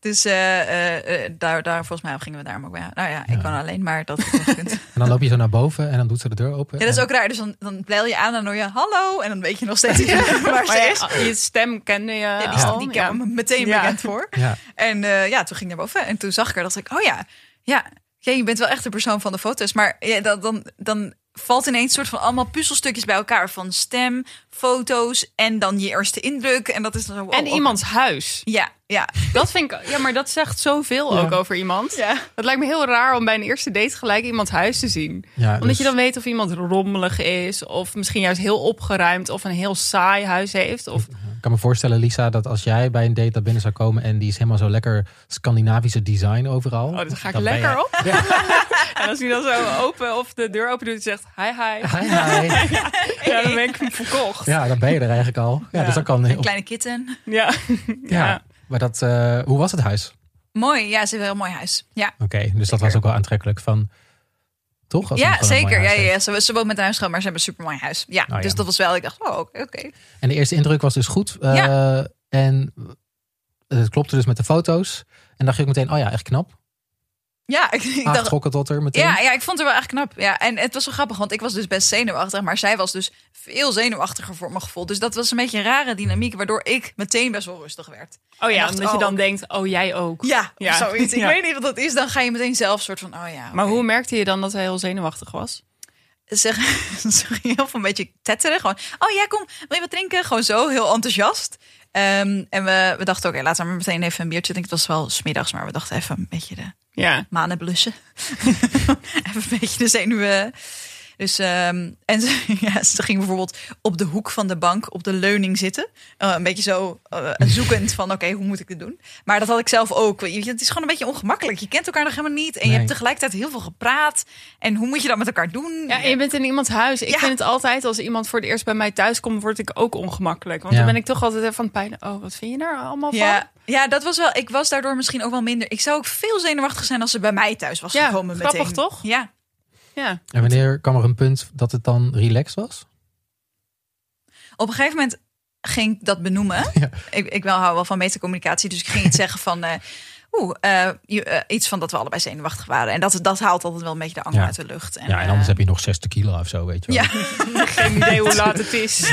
[SPEAKER 3] Dus eh, eh, eh, daar, daar, volgens mij gingen we daarom ook bij. Nou ja, ik kan alleen maar dat.
[SPEAKER 4] En dan loop je zo naar boven en dan doet ze de deur open.
[SPEAKER 3] Ja, dat is
[SPEAKER 4] En-
[SPEAKER 3] ook raar. Dus dan, dan bel je aan en dan hoor je hallo. En dan weet je nog steeds niet waar ze
[SPEAKER 2] Maar
[SPEAKER 3] is.
[SPEAKER 2] ja, je stem kende je
[SPEAKER 3] Ja, die,
[SPEAKER 2] al.
[SPEAKER 3] die
[SPEAKER 2] ja.
[SPEAKER 3] kwam me meteen
[SPEAKER 2] Ja.
[SPEAKER 3] bekend voor.
[SPEAKER 4] Ja.
[SPEAKER 3] En eh, ja, toen ging ik naar boven. En toen zag ik haar. dacht ik, oh ja, ja, ja je bent wel echt de persoon van de foto's. Maar ja, dan, dan, dan valt ineens soort van allemaal puzzelstukjes bij elkaar. Van stem, foto's en dan je eerste indruk. En dat is dan zo... wow,
[SPEAKER 2] En
[SPEAKER 3] oh.
[SPEAKER 2] iemands huis.
[SPEAKER 3] Ja, ja.
[SPEAKER 4] Oh.
[SPEAKER 2] Dat vind ik, ja, maar dat zegt zoveel
[SPEAKER 4] Ja.
[SPEAKER 2] ook over iemand.
[SPEAKER 3] Ja.
[SPEAKER 2] Het lijkt me heel raar om bij een eerste date gelijk iemands huis te zien.
[SPEAKER 4] Ja,
[SPEAKER 2] Omdat
[SPEAKER 4] dus-
[SPEAKER 2] je dan weet of iemand rommelig is, of misschien juist heel opgeruimd, of een heel saai huis heeft. Of
[SPEAKER 4] Ik kan me voorstellen, Lisa, dat als jij bij een date naar binnen zou komen en die is helemaal zo lekker Scandinavische design overal.
[SPEAKER 2] Oh, dat ga ik
[SPEAKER 4] dan ben
[SPEAKER 2] lekker
[SPEAKER 4] je-
[SPEAKER 2] op. En als hij dan zo open of de deur open doet en zegt hi hi,
[SPEAKER 4] Hi, hi.
[SPEAKER 2] ja, dan ben ik hem verkocht. Ja.
[SPEAKER 4] Ja, dan ben je er eigenlijk al. Ja,
[SPEAKER 2] Ja.
[SPEAKER 4] dus dan kan heel-
[SPEAKER 3] Kleine kitten.
[SPEAKER 2] Ja.
[SPEAKER 4] ja. Maar dat, eh, hoe was het huis? Oké,
[SPEAKER 3] Mooi. Ja, ze heeft een heel mooi huis. Ja.
[SPEAKER 4] dus dat was ook wel aantrekkelijk van. Toch? Als
[SPEAKER 3] Ja,
[SPEAKER 4] iemand gewoon een mooi
[SPEAKER 3] zeker. Ja,
[SPEAKER 4] huis
[SPEAKER 3] ja,
[SPEAKER 4] heeft.
[SPEAKER 3] ja. Ze, ze woont met een huisgenoot, maar ze hebben een supermooi huis. Ja,
[SPEAKER 4] ja.
[SPEAKER 3] dus dat was wel... Ik dacht, oh, oké. oké.
[SPEAKER 4] En de eerste indruk was dus goed. eh, En het klopte dus met de foto's. En dacht je ook meteen, oh ja, echt knap.
[SPEAKER 3] Ja, ik, ik dacht,
[SPEAKER 4] Aangetrokken tot er meteen.
[SPEAKER 3] Ja, ja, ik vond het wel echt knap. Ja, en het was wel grappig, want ik was dus best zenuwachtig. Maar zij was dus veel zenuwachtiger voor mijn gevoel. Dus dat was een beetje een rare dynamiek, waardoor ik meteen best wel rustig werd.
[SPEAKER 2] Oh
[SPEAKER 3] En
[SPEAKER 2] ja,
[SPEAKER 3] dacht,
[SPEAKER 2] omdat je dan
[SPEAKER 3] oh.
[SPEAKER 2] denkt, oh jij ook.
[SPEAKER 3] Ja,
[SPEAKER 2] Ja.
[SPEAKER 3] of zoiets. Ik
[SPEAKER 2] Ja.
[SPEAKER 3] weet niet wat dat is. Dan ga je meteen zelf soort van, oh ja. oké.
[SPEAKER 2] Maar hoe merkte je dan dat hij heel zenuwachtig was?
[SPEAKER 3] Ze, ze ging heel veel een beetje tetteren. Gewoon, oh ja, kom, wil je wat drinken? Gewoon zo, heel enthousiast. Ehm, en we, we dachten, oké, laten we maar meteen even een biertje drinken. Het was wel smiddags, maar we dachten even een beetje de
[SPEAKER 2] Ja.
[SPEAKER 3] manen blussen. Even een beetje de zenuwen. Dus, ehm, en ze, ja, ze ging bijvoorbeeld op de hoek van de bank op de leuning zitten. Eh, een beetje zo eh, zoekend van, oké, hoe moet ik dit doen? Maar dat had ik zelf ook. Weet je, Het is gewoon een beetje ongemakkelijk. Je kent elkaar nog helemaal niet. En je
[SPEAKER 4] Nee.
[SPEAKER 3] hebt tegelijkertijd heel veel gepraat. En hoe moet je dat met elkaar doen?
[SPEAKER 2] Ja, en je bent in iemands huis. Ik
[SPEAKER 3] Ja.
[SPEAKER 2] vind het altijd, als iemand voor het eerst bij mij thuis komt, word ik ook ongemakkelijk. Want
[SPEAKER 4] Ja.
[SPEAKER 2] dan ben ik toch altijd even van het pijn. Oh, wat vind je daar allemaal van?
[SPEAKER 3] ja, ja, dat was wel. Ik was daardoor misschien ook wel minder. Ik zou ook veel zenuwachtig zijn als ze bij mij thuis was
[SPEAKER 2] Ja,
[SPEAKER 3] gekomen.
[SPEAKER 2] grappig
[SPEAKER 3] meteen.
[SPEAKER 2] toch?
[SPEAKER 3] Ja.
[SPEAKER 2] Ja.
[SPEAKER 4] En wanneer kwam er een punt dat het dan relaxed was?
[SPEAKER 3] Op een gegeven moment ging ik dat benoemen.
[SPEAKER 4] Ja.
[SPEAKER 3] Ik, ik wel hou wel van metacommunicatie, dus ik ging iets zeggen van. eh, Oeh, eh, je- eh, iets van dat we allebei zenuwachtig waren. En dat, dat haalt altijd wel een beetje de angst
[SPEAKER 4] Ja.
[SPEAKER 3] uit de lucht. En,
[SPEAKER 4] Ja, en anders
[SPEAKER 3] eh,
[SPEAKER 4] heb je nog 60 kilo of zo, weet je wel.
[SPEAKER 3] Ja.
[SPEAKER 2] Geen idee hoe laat het is.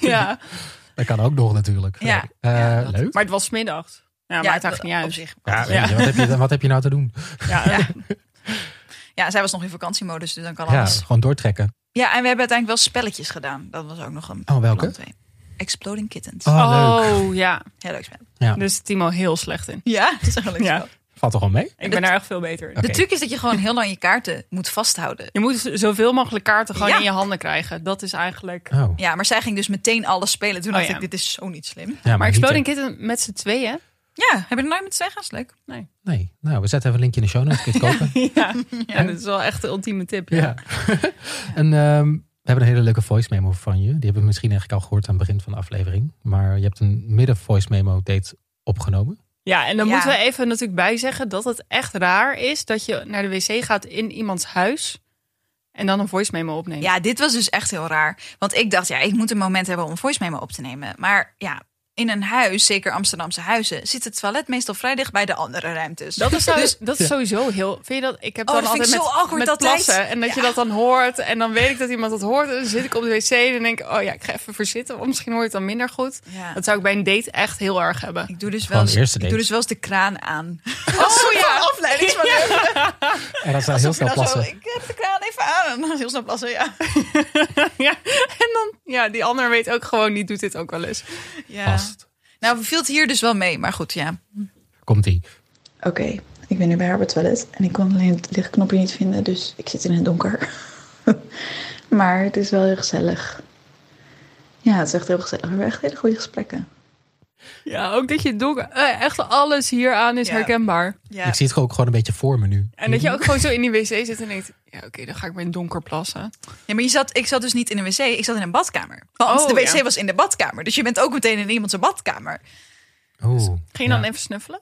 [SPEAKER 2] ja.
[SPEAKER 4] Dat kan ook nog natuurlijk.
[SPEAKER 3] Ja.
[SPEAKER 4] Eh,
[SPEAKER 3] Ja, dat-
[SPEAKER 4] leuk.
[SPEAKER 2] Maar het was 's middags. Ja, maar
[SPEAKER 3] ja,
[SPEAKER 2] het maakt
[SPEAKER 3] dat-
[SPEAKER 2] niet uit.
[SPEAKER 3] Op zich.
[SPEAKER 4] Ja,
[SPEAKER 2] Ja.
[SPEAKER 4] weet je, wat, heb je, dan- wat heb je nou te doen?
[SPEAKER 2] Ja,
[SPEAKER 3] Ja, zij was nog in vakantiemodus, dus dan kan
[SPEAKER 4] Ja,
[SPEAKER 3] alles.
[SPEAKER 4] gewoon doortrekken.
[SPEAKER 3] Ja, en we hebben uiteindelijk wel spelletjes gedaan. Dat was ook nog een.
[SPEAKER 4] Oh, welke?
[SPEAKER 3] plan twee. Exploding Kittens.
[SPEAKER 4] Oh, leuk.
[SPEAKER 2] Oh ja,
[SPEAKER 3] Heel leuk spel.
[SPEAKER 4] Ja.
[SPEAKER 2] dus Timo heel slecht in.
[SPEAKER 3] Ja, dat is echt een leuk
[SPEAKER 2] Ja.
[SPEAKER 3] spel.
[SPEAKER 4] Valt toch wel mee?
[SPEAKER 2] Ik ben daar echt veel beter in.
[SPEAKER 4] Oké.
[SPEAKER 3] De truc is dat je gewoon heel lang je kaarten moet vasthouden.
[SPEAKER 2] Je moet zoveel mogelijk kaarten gewoon
[SPEAKER 3] Ja.
[SPEAKER 2] in je handen krijgen. Dat is eigenlijk.
[SPEAKER 4] Oh.
[SPEAKER 3] Ja, maar zij ging dus meteen alles spelen. Toen
[SPEAKER 2] Oh,
[SPEAKER 3] dacht
[SPEAKER 2] ja.
[SPEAKER 3] ik, dit is zo niet slim.
[SPEAKER 4] Ja,
[SPEAKER 2] Maar
[SPEAKER 4] niet, eh,
[SPEAKER 2] Exploding Kitten met z'n tweeën.
[SPEAKER 3] Ja, heb je er nooit met zeggen? Dat is leuk.
[SPEAKER 4] eh, Nee, nou, we zetten even een linkje in de show notes. Kun je het kopen?
[SPEAKER 2] Ja. ja, dat is wel echt de ultieme tip.
[SPEAKER 4] Ja. en ehm, we hebben een hele leuke voice memo van je. Die hebben we misschien eigenlijk al gehoord aan het begin van de aflevering. Maar je hebt een midden voice memo date opgenomen.
[SPEAKER 2] Ja, en dan
[SPEAKER 3] Ja.
[SPEAKER 2] moeten we even natuurlijk bij zeggen dat het echt raar is dat je naar de wc gaat in iemands huis en dan een voice memo opneemt.
[SPEAKER 3] Ja, dit was dus echt heel raar. Want ik dacht, ja, ik moet een moment hebben om een voice memo op te nemen. Maar ja, in een huis, zeker Amsterdamse huizen, zit het toilet meestal vrij dicht bij de andere ruimtes.
[SPEAKER 2] Dat is, nou-
[SPEAKER 3] dus,
[SPEAKER 2] dat is sowieso heel. Vind je dat? Ik heb
[SPEAKER 3] Oh,
[SPEAKER 2] dan
[SPEAKER 3] dat vind
[SPEAKER 2] altijd
[SPEAKER 3] ik
[SPEAKER 2] met,
[SPEAKER 3] zo awkward
[SPEAKER 2] met
[SPEAKER 3] altijd.
[SPEAKER 2] plassen en dat je dat dan hoort en dan weet ik dat iemand dat hoort en dan zit ik op de wc en dan denk ik, oh ja, ik ga even verzitten, want misschien hoor je het dan minder goed.
[SPEAKER 3] ja,
[SPEAKER 2] Dat zou ik bij een date echt heel erg hebben.
[SPEAKER 3] ik doe dus wel
[SPEAKER 4] Gewoon
[SPEAKER 3] eens,
[SPEAKER 4] de eerste
[SPEAKER 3] ik
[SPEAKER 4] date.
[SPEAKER 3] doe dus wel eens de kraan aan.
[SPEAKER 2] Oh ja,
[SPEAKER 3] Afleidingsmanoeuvre.
[SPEAKER 4] En dat zou heel snel plassen.
[SPEAKER 3] ik heb de kraan even aan. En dan heel snel plassen, ja.
[SPEAKER 2] ja. En dan, ja, die ander weet ook gewoon, die doet dit ook wel eens.
[SPEAKER 3] ja.
[SPEAKER 4] Vast.
[SPEAKER 3] Nou, viel het hier dus wel mee. Maar goed, ja.
[SPEAKER 4] Komt ie.
[SPEAKER 1] Oké, ik ben nu bij haar op het toilet en ik kon alleen het lichtknopje niet vinden, dus ik zit in het donker. maar het is wel heel gezellig. Ja, het is echt heel gezellig. We hebben echt hele goede gesprekken.
[SPEAKER 2] Ja, ook dat je donker... eh, Echt alles hieraan is
[SPEAKER 3] Ja.
[SPEAKER 2] herkenbaar.
[SPEAKER 3] Ja.
[SPEAKER 4] Ik zie het ook gewoon een beetje voor me nu.
[SPEAKER 2] En dat je ook gewoon zo in die wc zit en denkt... Ja, oké, dan ga ik maar in het donker plassen.
[SPEAKER 3] Ja, maar je zat, ik zat dus niet in een wc, ik zat in een badkamer. Want
[SPEAKER 2] Oh,
[SPEAKER 3] de wc
[SPEAKER 2] ja.
[SPEAKER 3] was in de badkamer. Dus je bent ook meteen in iemand zijn badkamer. Dus
[SPEAKER 4] Oeh,
[SPEAKER 2] Ging je dan
[SPEAKER 4] ja.
[SPEAKER 2] even snuffelen?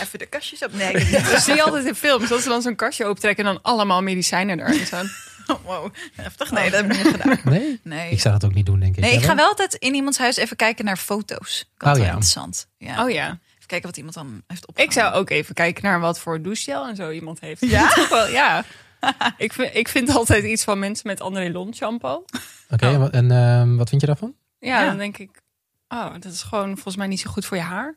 [SPEAKER 3] Even de kastjes op. Nee, ik heb
[SPEAKER 2] Dat zie je altijd in films. Dat ze dan zo'n kastje optrekken en dan allemaal medicijnen erin staan.
[SPEAKER 3] niet- wow, heftig. Nee, dat heb ik niet gedaan.
[SPEAKER 4] Nee?
[SPEAKER 3] Nee.
[SPEAKER 4] Ik zou dat ook niet doen, denk ik.
[SPEAKER 3] Nee, ik
[SPEAKER 4] Jij
[SPEAKER 3] ga wel altijd in iemands huis even kijken naar foto's. Ik
[SPEAKER 4] Oh,
[SPEAKER 3] oh,
[SPEAKER 4] ja.
[SPEAKER 3] ja. interessant. Ja.
[SPEAKER 2] Oh ja.
[SPEAKER 3] Even kijken wat iemand dan heeft op.
[SPEAKER 2] Ik zou ook even kijken naar wat voor douchegel en zo iemand heeft.
[SPEAKER 3] Ja?
[SPEAKER 2] Toch wel, ja. ik, vind, ik vind altijd iets van mensen met André Lon shampoo.
[SPEAKER 4] Oké,
[SPEAKER 3] Oh.
[SPEAKER 4] en wat- en ehm, wat vind je daarvan?
[SPEAKER 2] Ja,
[SPEAKER 3] Ja.
[SPEAKER 2] dan denk ik... Oh, dat is gewoon volgens mij niet zo goed voor je haar.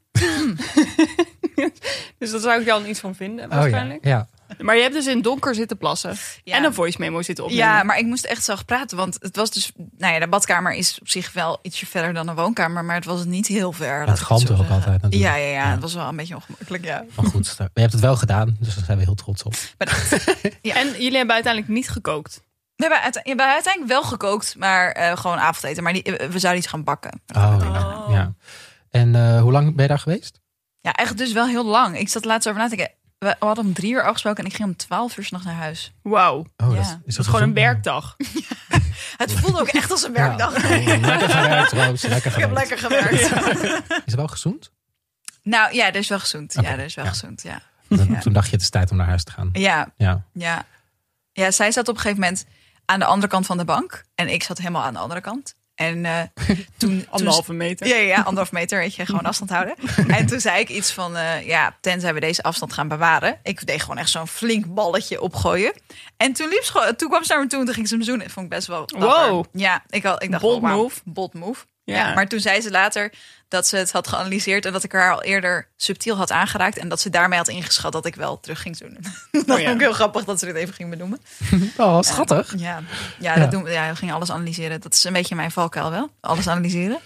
[SPEAKER 2] dus daar zou ik dan iets van vinden, waarschijnlijk.
[SPEAKER 4] Oh, ja. ja.
[SPEAKER 2] Maar je hebt dus in het donker zitten plassen.
[SPEAKER 3] Ja.
[SPEAKER 2] En een voice memo zitten opnemen.
[SPEAKER 3] Ja, maar ik moest echt zacht praten. Want het was dus. Nou ja, de badkamer is op zich wel ietsje verder dan een woonkamer. Maar het was niet heel ver. laat ik
[SPEAKER 4] Dat
[SPEAKER 3] het
[SPEAKER 4] galmt er
[SPEAKER 3] zo
[SPEAKER 4] ook
[SPEAKER 3] zeggen.
[SPEAKER 4] altijd natuurlijk.
[SPEAKER 3] Ja, ja, ja, het was wel een beetje ongemakkelijk. Ja.
[SPEAKER 4] Maar goed, eh, maar je hebt het wel gedaan, dus daar zijn we heel trots op.
[SPEAKER 3] Bedankt. Ja.
[SPEAKER 2] En jullie hebben uiteindelijk niet gekookt.
[SPEAKER 3] We hebben, uite- we hebben uiteindelijk wel gekookt, maar eh, gewoon avondeten. Maar die- we zouden iets gaan bakken.
[SPEAKER 4] Oh, ja. ja. En eh, hoe lang ben je daar geweest?
[SPEAKER 3] Ja, echt dus wel heel lang. Ik zat laatst over na te denken. We we hadden om drie uur afgesproken en ik ging om twaalf uur 's nachts naar huis.
[SPEAKER 2] Wauw. Het
[SPEAKER 4] Oh,
[SPEAKER 3] Ja.
[SPEAKER 4] dat is
[SPEAKER 2] was gewoon een
[SPEAKER 4] gezond?
[SPEAKER 2] werkdag.
[SPEAKER 3] Het voelde ook echt als een
[SPEAKER 4] Ja.
[SPEAKER 3] werkdag.
[SPEAKER 4] Oh, lekker gewerkt, Roos. Lekker
[SPEAKER 3] Ik heb
[SPEAKER 4] gewerkt.
[SPEAKER 3] lekker gewerkt.
[SPEAKER 4] Is het wel gezond?
[SPEAKER 3] Nou ja, er is wel gezoend.
[SPEAKER 4] Oké,
[SPEAKER 3] Ja, er is wel
[SPEAKER 4] ja.
[SPEAKER 3] gezoend. Ja.
[SPEAKER 4] Dan-
[SPEAKER 3] Ja.
[SPEAKER 4] Toen dacht je, het is tijd om naar huis te gaan.
[SPEAKER 3] ja,
[SPEAKER 4] Ja.
[SPEAKER 3] ja. Ja, zij zat op een gegeven moment aan de andere kant van de bank. En ik zat helemaal aan de andere kant. En eh, toen...
[SPEAKER 2] Anderhalve meter.
[SPEAKER 3] Ja, ja, ja, anderhalf meter, weet je, gewoon afstand houden. En toen zei ik iets van, eh, ja, tenzij we deze afstand gaan bewaren. Ik deed gewoon echt zo'n flink balletje opgooien. En toen, liep ze, gewoon- toen kwam ze naar me toe en toen ging ze me zoenen. Dat vond ik best wel dapper.
[SPEAKER 2] Wow.
[SPEAKER 3] Ja, ik, had, ik dacht,
[SPEAKER 2] Bold
[SPEAKER 3] oh, wauw,
[SPEAKER 2] move.
[SPEAKER 3] Bold move.
[SPEAKER 2] Ja.
[SPEAKER 3] Ja. maar toen zei ze later dat ze het had geanalyseerd... en dat ik haar al eerder subtiel had aangeraakt... en dat ze daarmee had ingeschat dat ik wel terug ging zoenen. dat
[SPEAKER 2] ja.
[SPEAKER 3] vond ik heel grappig dat ze dit even ging benoemen.
[SPEAKER 4] Oh, schattig.
[SPEAKER 3] Ja, ja,
[SPEAKER 4] Ja.
[SPEAKER 3] Dat doen we, ja, we gingen alles analyseren. Dat is een beetje mijn valkuil wel. Alles analyseren.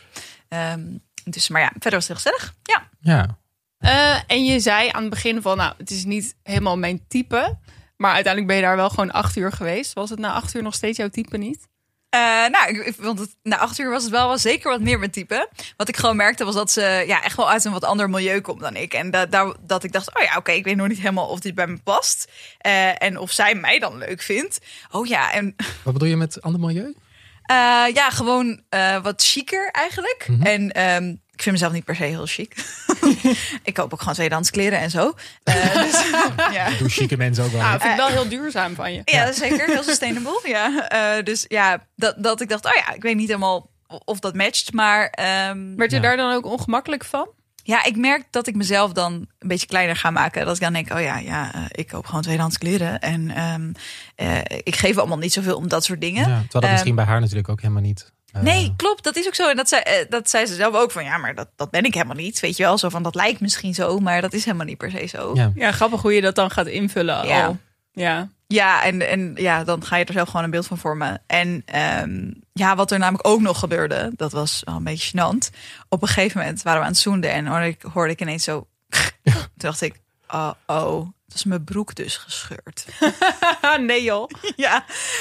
[SPEAKER 3] Ehm, dus, maar ja, verder was het heel gezellig. Ja,
[SPEAKER 4] Ja.
[SPEAKER 2] Eh, en je zei aan het begin van, nou, het is niet helemaal mijn type. Maar uiteindelijk ben je daar wel gewoon acht uur geweest. Was het na acht uur nog steeds jouw type niet?
[SPEAKER 3] Eh, nou, ik, ik vond het, na acht uur was het wel, wel zeker wat meer mijn type. Wat ik gewoon merkte was dat ze ja, echt wel uit een wat ander milieu komt dan ik. En da, daar- dat ik dacht, oh ja, oké, ik weet nog niet helemaal of dit bij me past. Eh, en of zij mij dan leuk vindt. Oh ja, en
[SPEAKER 4] Wat bedoel je met ander milieu?
[SPEAKER 3] eh, ja, gewoon eh, wat chiquer eigenlijk.
[SPEAKER 4] Mhm.
[SPEAKER 3] En ehm, ik vind mezelf niet per se heel chic. ik koop ook gewoon tweedehands kleren en zo. Eh, dus, ja.
[SPEAKER 4] Doe chique mensen ook wel.
[SPEAKER 2] Ah, vind ik
[SPEAKER 3] Eh,
[SPEAKER 2] wel heel duurzaam van je.
[SPEAKER 3] Ja, zeker. Heel sustainable. ja. Eh, dus ja, dat, dat ik dacht, oh ja, ik weet niet helemaal of dat matcht. Maar ehm,
[SPEAKER 2] Werd je
[SPEAKER 4] Ja.
[SPEAKER 2] daar dan ook ongemakkelijk van?
[SPEAKER 3] ja, ik merk dat ik mezelf dan een beetje kleiner ga maken. Dat ik dan denk, oh ja, ja eh, ik koop gewoon tweedehands kleren. En ehm, eh, ik geef allemaal niet zoveel om dat soort
[SPEAKER 4] Ja,
[SPEAKER 3] dingen.
[SPEAKER 4] terwijl dat
[SPEAKER 3] Ehm,
[SPEAKER 4] misschien bij haar natuurlijk ook helemaal niet. eh,
[SPEAKER 3] Nee, klopt. Dat is ook zo. En dat zei, eh, dat zei ze zelf ook van, ja, maar dat, dat ben ik helemaal niet. Weet je wel, zo van, dat lijkt misschien zo, maar dat is helemaal niet per se zo.
[SPEAKER 4] Ja.
[SPEAKER 2] Ja, grappig hoe je dat dan gaat invullen.
[SPEAKER 3] Ja.
[SPEAKER 2] Al. ja.
[SPEAKER 3] Ja, en, en ja, dan ga je er zelf gewoon een beeld van vormen. En ehm, ja, wat er namelijk ook nog gebeurde, dat was wel een beetje gênant. Op een gegeven moment waren we aan het zoenden en hoorde ik, hoorde ik ineens zo... Toen dacht ik, oh, oh, dat is mijn broek dus gescheurd.
[SPEAKER 2] nee joh.
[SPEAKER 3] ja,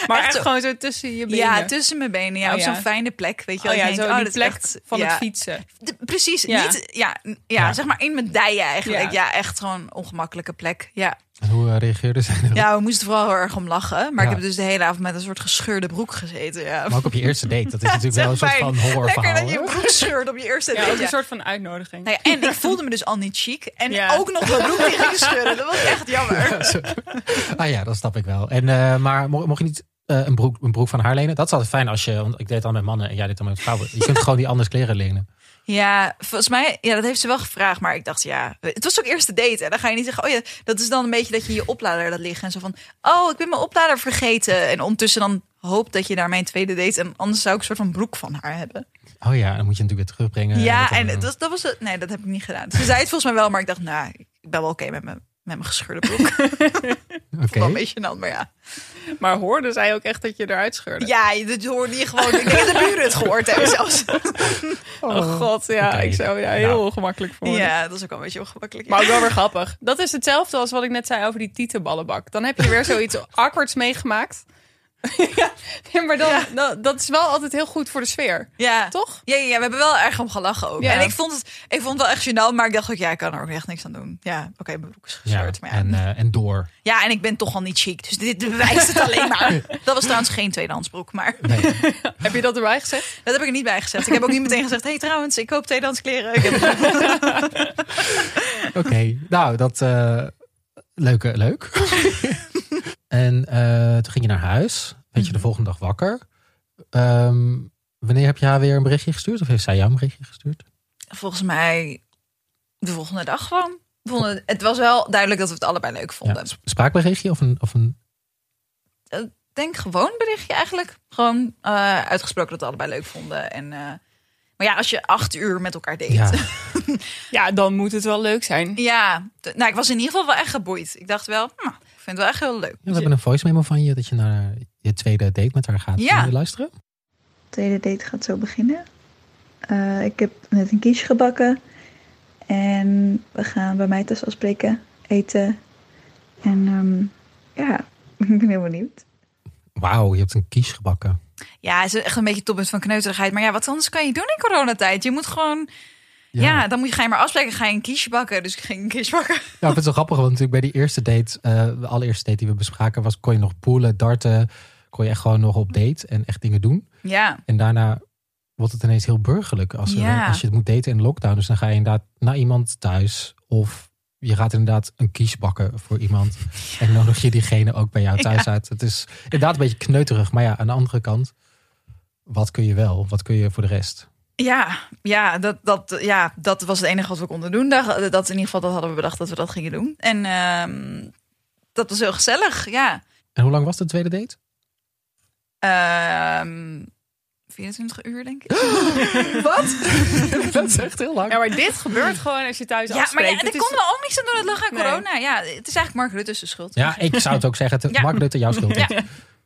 [SPEAKER 2] Maar echt,
[SPEAKER 3] Ah, Echt zo.
[SPEAKER 2] gewoon zo tussen je benen.
[SPEAKER 3] ja, tussen mijn benen, ja,
[SPEAKER 2] Oh,
[SPEAKER 3] op
[SPEAKER 2] ja.
[SPEAKER 3] zo'n fijne plek. Weet je wel,
[SPEAKER 2] Oh ja,
[SPEAKER 3] Je denkt,
[SPEAKER 2] zo
[SPEAKER 3] oh,
[SPEAKER 2] die
[SPEAKER 3] dat is
[SPEAKER 2] plek
[SPEAKER 3] echt-
[SPEAKER 2] van
[SPEAKER 3] ja.
[SPEAKER 2] het fietsen.
[SPEAKER 3] De- precies,
[SPEAKER 2] Ja.
[SPEAKER 3] niet, ja, n- ja,
[SPEAKER 4] Ja.
[SPEAKER 3] zeg maar in mijn dijen eigenlijk.
[SPEAKER 2] Ja.
[SPEAKER 3] Ja, echt gewoon een ongemakkelijke plek. Ja.
[SPEAKER 4] En hoe eh, reageerde zij erop?
[SPEAKER 3] ja, we moesten vooral heel erg om lachen. Maar
[SPEAKER 4] Ja.
[SPEAKER 3] ik heb dus de hele avond met een soort gescheurde broek gezeten. Ja.
[SPEAKER 4] Maar ook op je eerste date. Dat is natuurlijk
[SPEAKER 3] echt
[SPEAKER 4] wel een soort
[SPEAKER 3] fijn.
[SPEAKER 4] van horrorverhaal.
[SPEAKER 3] Lekker dat je
[SPEAKER 4] hoor.
[SPEAKER 3] je broek scheurt op je eerste
[SPEAKER 2] Ja,
[SPEAKER 3] date.
[SPEAKER 2] ook een
[SPEAKER 3] ja.
[SPEAKER 2] soort van uitnodiging.
[SPEAKER 3] Nou ja, en ik voelde me dus al niet chic. En
[SPEAKER 2] Ja.
[SPEAKER 3] ook nog mijn broek die ging scheuren. Dat was echt jammer.
[SPEAKER 4] Ah ja, dat snap ik wel. En, eh, maar mo- mocht je niet eh, een, broek, een broek van haar lenen? Dat is altijd fijn als je... Want ik deed het dan met mannen en jij deed het dan met vrouwen. Je kunt gewoon die anders kleren lenen.
[SPEAKER 3] Ja, volgens mij, ja, dat heeft ze wel gevraagd. Maar ik dacht, ja, het was ook eerste date. En dan ga je niet zeggen, oh ja, dat is dan een beetje dat je je oplader laat liggen. En zo van, oh, ik ben mijn oplader vergeten. En ondertussen dan hoop dat je daarmee een tweede date. En anders zou ik een soort van broek van haar hebben.
[SPEAKER 4] Oh ja, dan moet je natuurlijk weer terugbrengen.
[SPEAKER 3] ja,
[SPEAKER 4] dat dan- eh,
[SPEAKER 3] en dat, dat was het. Nee, dat heb ik niet gedaan. Ze zei het volgens mij wel, maar ik dacht, nou, ik ben wel oké met mijn Met mijn gescheurde broek.
[SPEAKER 4] Oké.
[SPEAKER 3] Wel een beetje gênant, maar ja.
[SPEAKER 2] Maar hoorde zij ook echt dat je eruit scheurde?
[SPEAKER 3] Ja, dat hoorde je gewoon. Ik denk dat de buren het gehoord hebben zelfs.
[SPEAKER 2] Oh god, ja.
[SPEAKER 4] Oké.
[SPEAKER 2] Ik zou ja, heel
[SPEAKER 4] Nou.
[SPEAKER 2] ongemakkelijk voor worden.
[SPEAKER 3] Ja, dat is ook wel een beetje ongemakkelijk.
[SPEAKER 2] Maar ook wel weer grappig. Dat is hetzelfde als wat ik net zei over die tietenballenbak. Dan heb je weer zoiets awkwards meegemaakt. ja, nee, maar dan, dan- dat is wel altijd heel goed voor de sfeer.
[SPEAKER 3] Ja.
[SPEAKER 2] Toch?
[SPEAKER 3] Ja, ja, ja, we hebben wel erg om gelachen ook.
[SPEAKER 2] Ja.
[SPEAKER 3] En ik vond, het, ik vond het wel echt gênant, maar ik dacht ook, ja, ik kan er ook echt niks aan doen. Ja, oké, mijn broek is
[SPEAKER 4] Ja,
[SPEAKER 3] gescheurd. maar ja.
[SPEAKER 4] en, eh, en door.
[SPEAKER 3] ja, en ik ben toch al niet chic, dus dit bewijst het alleen maar. Dat was trouwens geen tweedehands broek, maar
[SPEAKER 4] Nee.
[SPEAKER 2] Heb je dat erbij gezegd?
[SPEAKER 3] dat heb ik er niet bij gezegd. Ik heb ook niet meteen gezegd, hey, trouwens, ik koop tweedehands kleren. Ik heb-
[SPEAKER 4] Oké, nou, dat... eh leuk, eh, leuk. en eh, toen ging je naar huis. Weet je,
[SPEAKER 3] Mhm.
[SPEAKER 4] de volgende dag wakker. Ehm, wanneer heb je haar weer een berichtje gestuurd? Of heeft zij jou een berichtje gestuurd?
[SPEAKER 3] Volgens mij de volgende dag gewoon. We vonden- Het was wel duidelijk dat we het allebei leuk vonden.
[SPEAKER 4] Ja, sp- spraakberichtje of een... Of een
[SPEAKER 3] denk gewoon berichtje eigenlijk. Gewoon eh, uitgesproken dat we allebei leuk vonden. En, eh, maar ja, als je acht uur met elkaar date.
[SPEAKER 4] ja,
[SPEAKER 3] Ja,
[SPEAKER 2] Ja, dan moet het wel leuk zijn.
[SPEAKER 3] d- nou, ik was in ieder geval wel echt geboeid. Ik dacht wel, hm, ik vind het wel echt heel leuk.
[SPEAKER 4] we hebben een voice memo van je dat je naar je tweede date met haar gaat.
[SPEAKER 3] Ja.
[SPEAKER 4] Zullen we luisteren?
[SPEAKER 5] tweede date gaat zo beginnen. Eh, ik heb net een quiche gebakken. En we gaan bij mij thuis afspreken, eten. En ehm, ja, ik ben heel benieuwd.
[SPEAKER 4] Wauw, je hebt een kies gebakken.
[SPEAKER 3] Ja, het is echt een beetje het toppunt van kneuterigheid. Maar ja, wat anders kan je doen in coronatijd? Je moet gewoon, ja, dan moet je, ga je maar afspreken. Ga je een kiesje bakken. Dus ik ging een kiesje bakken.
[SPEAKER 4] Ja, ik vind het wel grappig, want natuurlijk bij die eerste date, eh, de allereerste date die we bespraken, was, kon je nog poelen, darten, kon je echt gewoon nog op date en echt dingen doen.
[SPEAKER 3] Ja,
[SPEAKER 4] En daarna wordt het ineens heel burgerlijk als, er-
[SPEAKER 3] Ja.
[SPEAKER 4] als je het moet daten in lockdown. Dus dan ga je inderdaad naar iemand thuis of je gaat inderdaad een kies bakken voor iemand en nodig je diegene ook bij jou thuis uit. Het is inderdaad een beetje kneuterig, maar ja, aan de andere kant, wat kun je wel, wat kun je voor de rest?
[SPEAKER 3] ja, ja, dat, dat, ja, dat was het enige wat we konden doen. Dat, dat in ieder geval, dat hadden we bedacht dat we dat gingen doen. En ehm, dat was heel gezellig, ja.
[SPEAKER 4] En hoe lang was de tweede date?
[SPEAKER 3] Ehm 24 uur, denk ik. Wat?
[SPEAKER 4] Dat is echt heel lang.
[SPEAKER 2] Ja, maar dit gebeurt gewoon als je thuis
[SPEAKER 3] Ja, maar
[SPEAKER 2] afspreekt.
[SPEAKER 3] ja,
[SPEAKER 2] Het
[SPEAKER 3] er
[SPEAKER 2] is-
[SPEAKER 3] kon wel ook niks aan doen. Het lag aan
[SPEAKER 2] Nee.
[SPEAKER 3] corona. Ja, het is eigenlijk Mark Rutte's schuld.
[SPEAKER 4] Ja, ik zou het ook zeggen. Het,
[SPEAKER 3] Ja.
[SPEAKER 4] Mark Rutte, jouw schuld.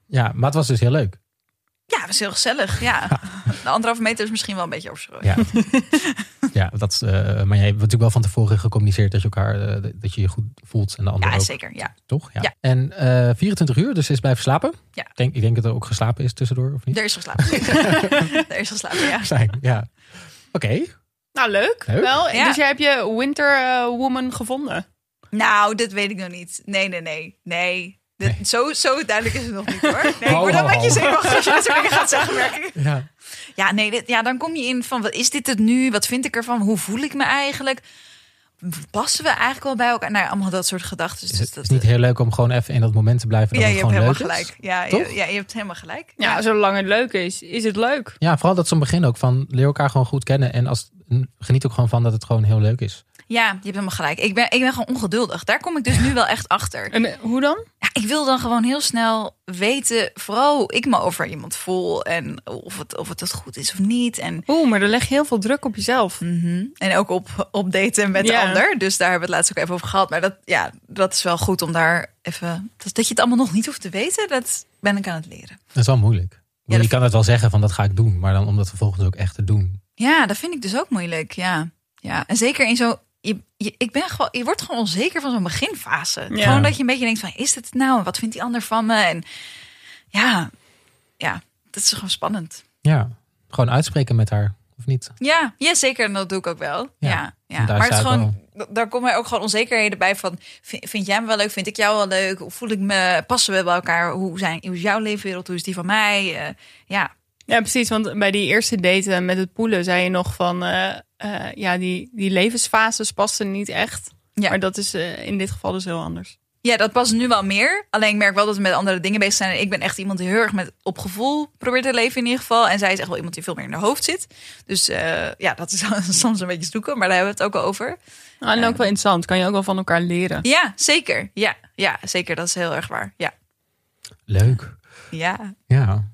[SPEAKER 4] Ja. maar het was dus heel leuk.
[SPEAKER 3] Ja, het was heel gezellig. Ja. De anderhalve meter is misschien wel een beetje overschroeid.
[SPEAKER 4] Ja, ja dat, is, eh, maar jij hebt natuurlijk wel van tevoren gecommuniceerd dat je elkaar eh, dat je je goed voelt en de ander
[SPEAKER 3] Ja,
[SPEAKER 4] ook,
[SPEAKER 3] zeker. Ja.
[SPEAKER 4] toch? Ja.
[SPEAKER 3] Ja.
[SPEAKER 4] En eh, 24 uur, dus ze is blijven slapen.
[SPEAKER 3] Ja.
[SPEAKER 4] Ik Denk, ik denk dat er ook geslapen is tussendoor, of niet?
[SPEAKER 3] Er is geslapen. er is geslapen, ja.
[SPEAKER 4] Zijn, ja. Oké,
[SPEAKER 2] Nou, leuk.
[SPEAKER 4] Leuk.
[SPEAKER 2] Wel,
[SPEAKER 3] Ja.
[SPEAKER 2] Dus jij hebt je Winter eh, Woman gevonden.
[SPEAKER 3] Nou, dat weet ik nog niet. Nee, nee, nee. Nee. Dit-
[SPEAKER 4] Nee.
[SPEAKER 3] Zo, zo duidelijk is het nog niet hoor. Nee, ik
[SPEAKER 4] Ho,
[SPEAKER 3] word
[SPEAKER 4] ho,
[SPEAKER 3] een beetje
[SPEAKER 4] ho.
[SPEAKER 3] zenuwachtig als je dat soort dingen gaat zeggen, merk ik.
[SPEAKER 4] ja.
[SPEAKER 3] Ja, nee, dit- ja, dan kom je in van wat is dit het nu? Wat vind ik ervan? Hoe voel ik me eigenlijk? Passen we eigenlijk wel bij elkaar? Nou, ja, allemaal dat soort gedachten.
[SPEAKER 4] Is
[SPEAKER 3] Dus
[SPEAKER 4] het
[SPEAKER 3] dat,
[SPEAKER 4] is niet heel leuk om gewoon even in dat moment te blijven.
[SPEAKER 3] ja,
[SPEAKER 4] Dat
[SPEAKER 3] je
[SPEAKER 4] het
[SPEAKER 3] hebt
[SPEAKER 4] gewoon
[SPEAKER 3] helemaal
[SPEAKER 4] leuk is?
[SPEAKER 3] gelijk. Ja,
[SPEAKER 4] Toch?
[SPEAKER 3] je, ja, je hebt helemaal gelijk.
[SPEAKER 2] Ja, zolang het leuk is, is het leuk.
[SPEAKER 4] Ja, vooral dat ze aan het begin ook van leer elkaar gewoon goed kennen. En als, geniet ook gewoon van dat het gewoon heel leuk is.
[SPEAKER 3] Ja, je hebt helemaal gelijk. Ik ben, ik ben gewoon ongeduldig. Daar kom ik dus nu wel echt achter.
[SPEAKER 2] En eh, hoe dan?
[SPEAKER 3] Ja, ik wil dan gewoon heel snel weten, vooral hoe ik me over iemand voel. En of het, of het goed is of niet. En,
[SPEAKER 2] Oeh, maar dan leg je heel veel druk op jezelf.
[SPEAKER 3] mhm. en ook op, op daten met
[SPEAKER 2] Ja.
[SPEAKER 3] de ander. Dus daar hebben we het laatst ook even over gehad. Maar dat, ja, dat is wel goed om daar even... Dat, dat je het allemaal nog niet hoeft te weten, dat ben ik aan het leren.
[SPEAKER 4] Dat is wel moeilijk. Ik bedoel,
[SPEAKER 3] dat
[SPEAKER 4] je kan het wel zeggen van dat ga ik doen, maar dan om dat vervolgens ook echt te doen.
[SPEAKER 3] Ja, dat vind ik dus ook moeilijk, ja. ja. En zeker in zo... Je, je- ik ben gewoon, je wordt gewoon onzeker van zo'n beginfase.
[SPEAKER 2] Ja.
[SPEAKER 3] Gewoon dat je een beetje denkt van, is dit het nou? En wat vindt die ander van me? En ja, ja, dat is gewoon spannend.
[SPEAKER 4] Ja, gewoon uitspreken met haar, of niet?
[SPEAKER 3] Ja, ja zeker. En dat doe ik ook wel.
[SPEAKER 4] Ja,
[SPEAKER 3] Ja,
[SPEAKER 4] daar
[SPEAKER 3] ja. Maar het is
[SPEAKER 4] staat
[SPEAKER 3] gewoon, d- daar komen ook gewoon onzekerheden bij van... Vind, vind jij me wel leuk? Vind ik jou wel leuk? Hoe voel ik me? Passen we bij elkaar? Hoe, zijn, hoe is jouw leefwereld? Hoe is die van mij? Eh, ja.
[SPEAKER 2] Ja, precies. Want bij die eerste date eh, met het poelen zei je nog van... eh, eh, ja, die, die levensfases pasten niet echt.
[SPEAKER 3] Ja.
[SPEAKER 2] Maar dat is eh, in dit geval dus heel anders.
[SPEAKER 3] ja, dat past nu wel meer. Alleen ik merk wel dat we met andere dingen bezig zijn. En ik ben echt iemand die heel erg met op gevoel probeert te leven in ieder geval. En zij is echt wel iemand die veel meer in haar hoofd zit. Dus eh, ja, dat is soms een beetje zoeken. Maar daar hebben we het ook al over.
[SPEAKER 2] Ah, en ook wel interessant. Kan je ook wel van elkaar leren.
[SPEAKER 3] Ja, zeker. Ja, ja zeker. Dat is heel erg waar. Ja,
[SPEAKER 4] Leuk.
[SPEAKER 3] ja.
[SPEAKER 4] Ja.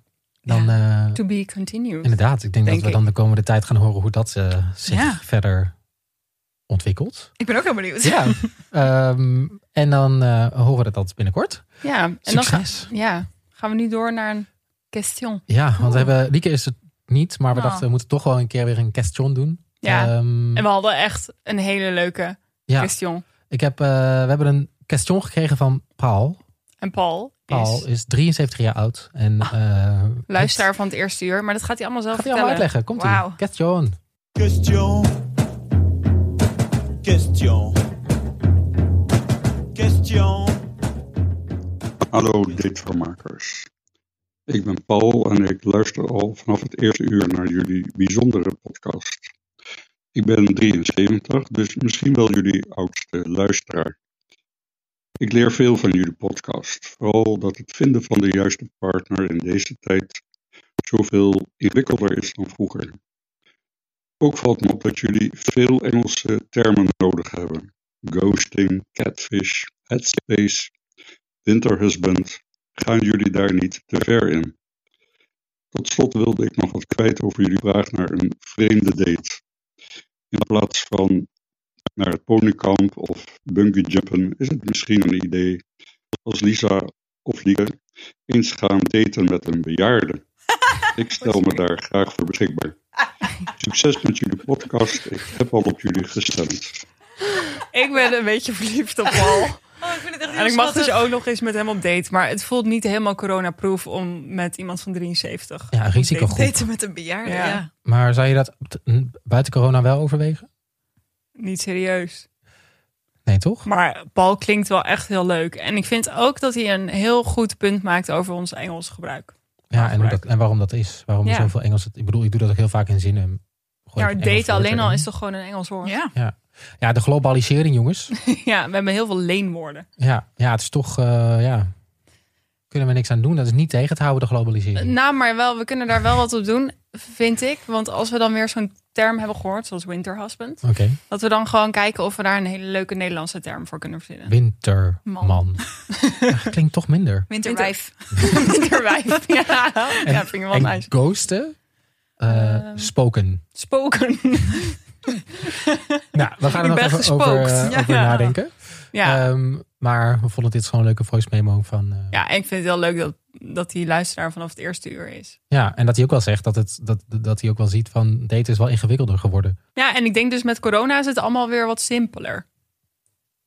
[SPEAKER 4] Dan, eh,
[SPEAKER 2] To be continued.
[SPEAKER 4] inderdaad, ik denk,
[SPEAKER 2] Denk
[SPEAKER 4] dat we
[SPEAKER 2] ik.
[SPEAKER 4] dan de komende tijd gaan horen hoe dat eh, zich
[SPEAKER 3] Ja.
[SPEAKER 4] verder ontwikkeld.
[SPEAKER 3] Ik ben ook heel benieuwd.
[SPEAKER 4] Ja. Ehm, en dan eh, horen we dat binnenkort.
[SPEAKER 2] Ja, en dan ga-
[SPEAKER 4] Succes.
[SPEAKER 2] ja, gaan we nu door naar een question.
[SPEAKER 4] Ja, want we hebben, Lieke is het niet, maar we
[SPEAKER 3] Oh.
[SPEAKER 4] dachten we moeten toch wel een keer weer een question doen.
[SPEAKER 2] Nou. Ja.
[SPEAKER 4] Ehm,
[SPEAKER 2] En we hadden echt een hele leuke
[SPEAKER 4] ja.
[SPEAKER 2] question.
[SPEAKER 4] Ik heb, eh, we hebben een question gekregen van Paul.
[SPEAKER 2] En Paul,
[SPEAKER 4] Paul
[SPEAKER 2] is
[SPEAKER 4] is 73 jaar oud. En, eh,
[SPEAKER 2] Ah. luisteraar van het eerste uur, maar dat gaat hij allemaal zelf
[SPEAKER 4] Gaat hij allemaal
[SPEAKER 2] vertellen.
[SPEAKER 4] uitleggen. Komt ie.
[SPEAKER 3] Wauw.
[SPEAKER 4] Question.
[SPEAKER 6] Question. Question. Question.
[SPEAKER 7] Hallo datevermakers. Ik ben Paul en ik luister al vanaf het eerste uur naar jullie bijzondere podcast. Ik ben 73, dus misschien wel jullie oudste luisteraar. Ik leer veel van jullie podcast, vooral dat het vinden van de juiste partner in deze tijd zoveel ingewikkelder is dan vroeger. Ook valt me op dat jullie veel Engelse termen nodig hebben: ghosting, catfish, headspace. Winterhusband, gaan jullie daar niet te ver in? Tot slot wilde ik nog wat kwijt over jullie vraag naar een vreemde date. In plaats van naar het ponykamp of bungee jumpen is het misschien een idee als Lisa of Lieke eens gaan daten met een bejaarde. Ik stel me daar graag voor beschikbaar. Succes met jullie podcast. Ik heb al op jullie gestemd.
[SPEAKER 2] Ik ben een beetje verliefd op Paul.
[SPEAKER 3] Oh, ik vind het echt heel
[SPEAKER 2] En ik mag dus
[SPEAKER 3] schattig.
[SPEAKER 2] ook nog eens met hem op date. Maar het voelt niet helemaal coronaproof om met iemand van 73.
[SPEAKER 4] Ja,
[SPEAKER 2] op
[SPEAKER 4] risicogroep.
[SPEAKER 2] date-
[SPEAKER 3] Daten met een bejaarde,
[SPEAKER 2] Ja.
[SPEAKER 3] ja.
[SPEAKER 4] Maar zou je dat t- n- buiten corona wel overwegen?
[SPEAKER 2] Niet serieus.
[SPEAKER 4] Nee, toch?
[SPEAKER 2] Maar Paul klinkt wel echt heel leuk. En ik vind ook dat hij een heel goed punt maakt over ons Engels gebruik.
[SPEAKER 4] Oh, Ja, en, hoe dat,
[SPEAKER 2] gebruiken.
[SPEAKER 4] en waarom dat is. Waarom er
[SPEAKER 2] Ja.
[SPEAKER 4] zoveel Engels... Ik bedoel, ik doe dat ook heel vaak in zinnen. Gooi
[SPEAKER 2] Ja,
[SPEAKER 4] ik
[SPEAKER 2] maar
[SPEAKER 4] een Engels
[SPEAKER 2] date alleen
[SPEAKER 4] woord
[SPEAKER 2] al
[SPEAKER 4] erin.
[SPEAKER 2] is toch gewoon een Engels woord?
[SPEAKER 3] Ja.
[SPEAKER 4] Ja, de globalisering, jongens.
[SPEAKER 2] Ja, we hebben heel veel leenwoorden.
[SPEAKER 4] ja, ja, het is toch... eh, ja, kunnen we niks aan doen. Dat is niet tegen te houden, de globalisering.
[SPEAKER 2] Nou, maar wel, we kunnen daar wel wat op doen, vind ik. Want als we dan weer zo'n term hebben gehoord, zoals winter husband,
[SPEAKER 4] Oké.
[SPEAKER 2] dat we dan gewoon kijken of we daar een hele leuke Nederlandse term voor kunnen verzinnen.
[SPEAKER 4] Winterman. Ja, klinkt toch minder.
[SPEAKER 3] Winterwijf.
[SPEAKER 2] Winterwijf. Ja, ja vind ik wel
[SPEAKER 4] en
[SPEAKER 2] nice. Ehm.
[SPEAKER 4] ghosten? Eh, spoken.
[SPEAKER 2] Spoken.
[SPEAKER 4] Nou, we gaan er
[SPEAKER 2] Ik
[SPEAKER 4] nog
[SPEAKER 2] ben
[SPEAKER 4] even
[SPEAKER 2] gespookt.
[SPEAKER 4] over, eh,
[SPEAKER 2] Ja.
[SPEAKER 4] over nadenken.
[SPEAKER 2] Ja.
[SPEAKER 4] Ehm, maar we vonden dit gewoon een leuke voice memo van... eh,
[SPEAKER 2] ja, en ik vind het heel leuk dat, dat die luisteraar vanaf het eerste uur is.
[SPEAKER 4] Ja, en dat hij ook wel zegt dat, het, dat, dat hij ook wel ziet van daten is wel ingewikkelder geworden.
[SPEAKER 2] Ja, en ik denk dus met corona is het allemaal weer wat simpeler.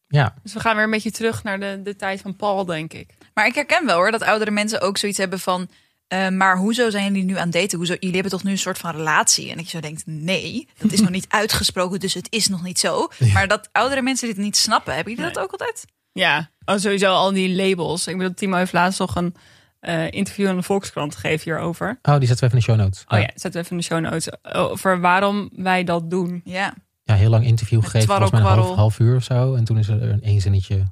[SPEAKER 4] Ja,
[SPEAKER 2] Dus we gaan weer een beetje terug naar de, de tijd van Paul, denk ik.
[SPEAKER 3] Maar ik herken wel hoor, dat oudere mensen ook zoiets hebben van... eh, maar hoezo zijn jullie nu aan het daten? Hoezo, jullie hebben toch nu een soort van relatie? En ik zo denk, nee, dat is nog niet uitgesproken, dus het is nog niet zo. Maar dat oudere mensen dit niet snappen, hebben jullie dat ook altijd?
[SPEAKER 2] Ja, oh, sowieso al die labels. Ik bedoel, Timo heeft laatst nog een eh, interview aan de Volkskrant gegeven hierover.
[SPEAKER 4] oh, die zetten we even in de show notes.
[SPEAKER 2] Oh ja, zetten we even in de show notes. Over waarom wij dat doen.
[SPEAKER 3] Ja,
[SPEAKER 4] Ja, heel lang interview gegeven,
[SPEAKER 3] twarrel,
[SPEAKER 4] volgens mij een half,
[SPEAKER 3] kwarrel.
[SPEAKER 4] half uur of zo. En toen is er een één zinnetje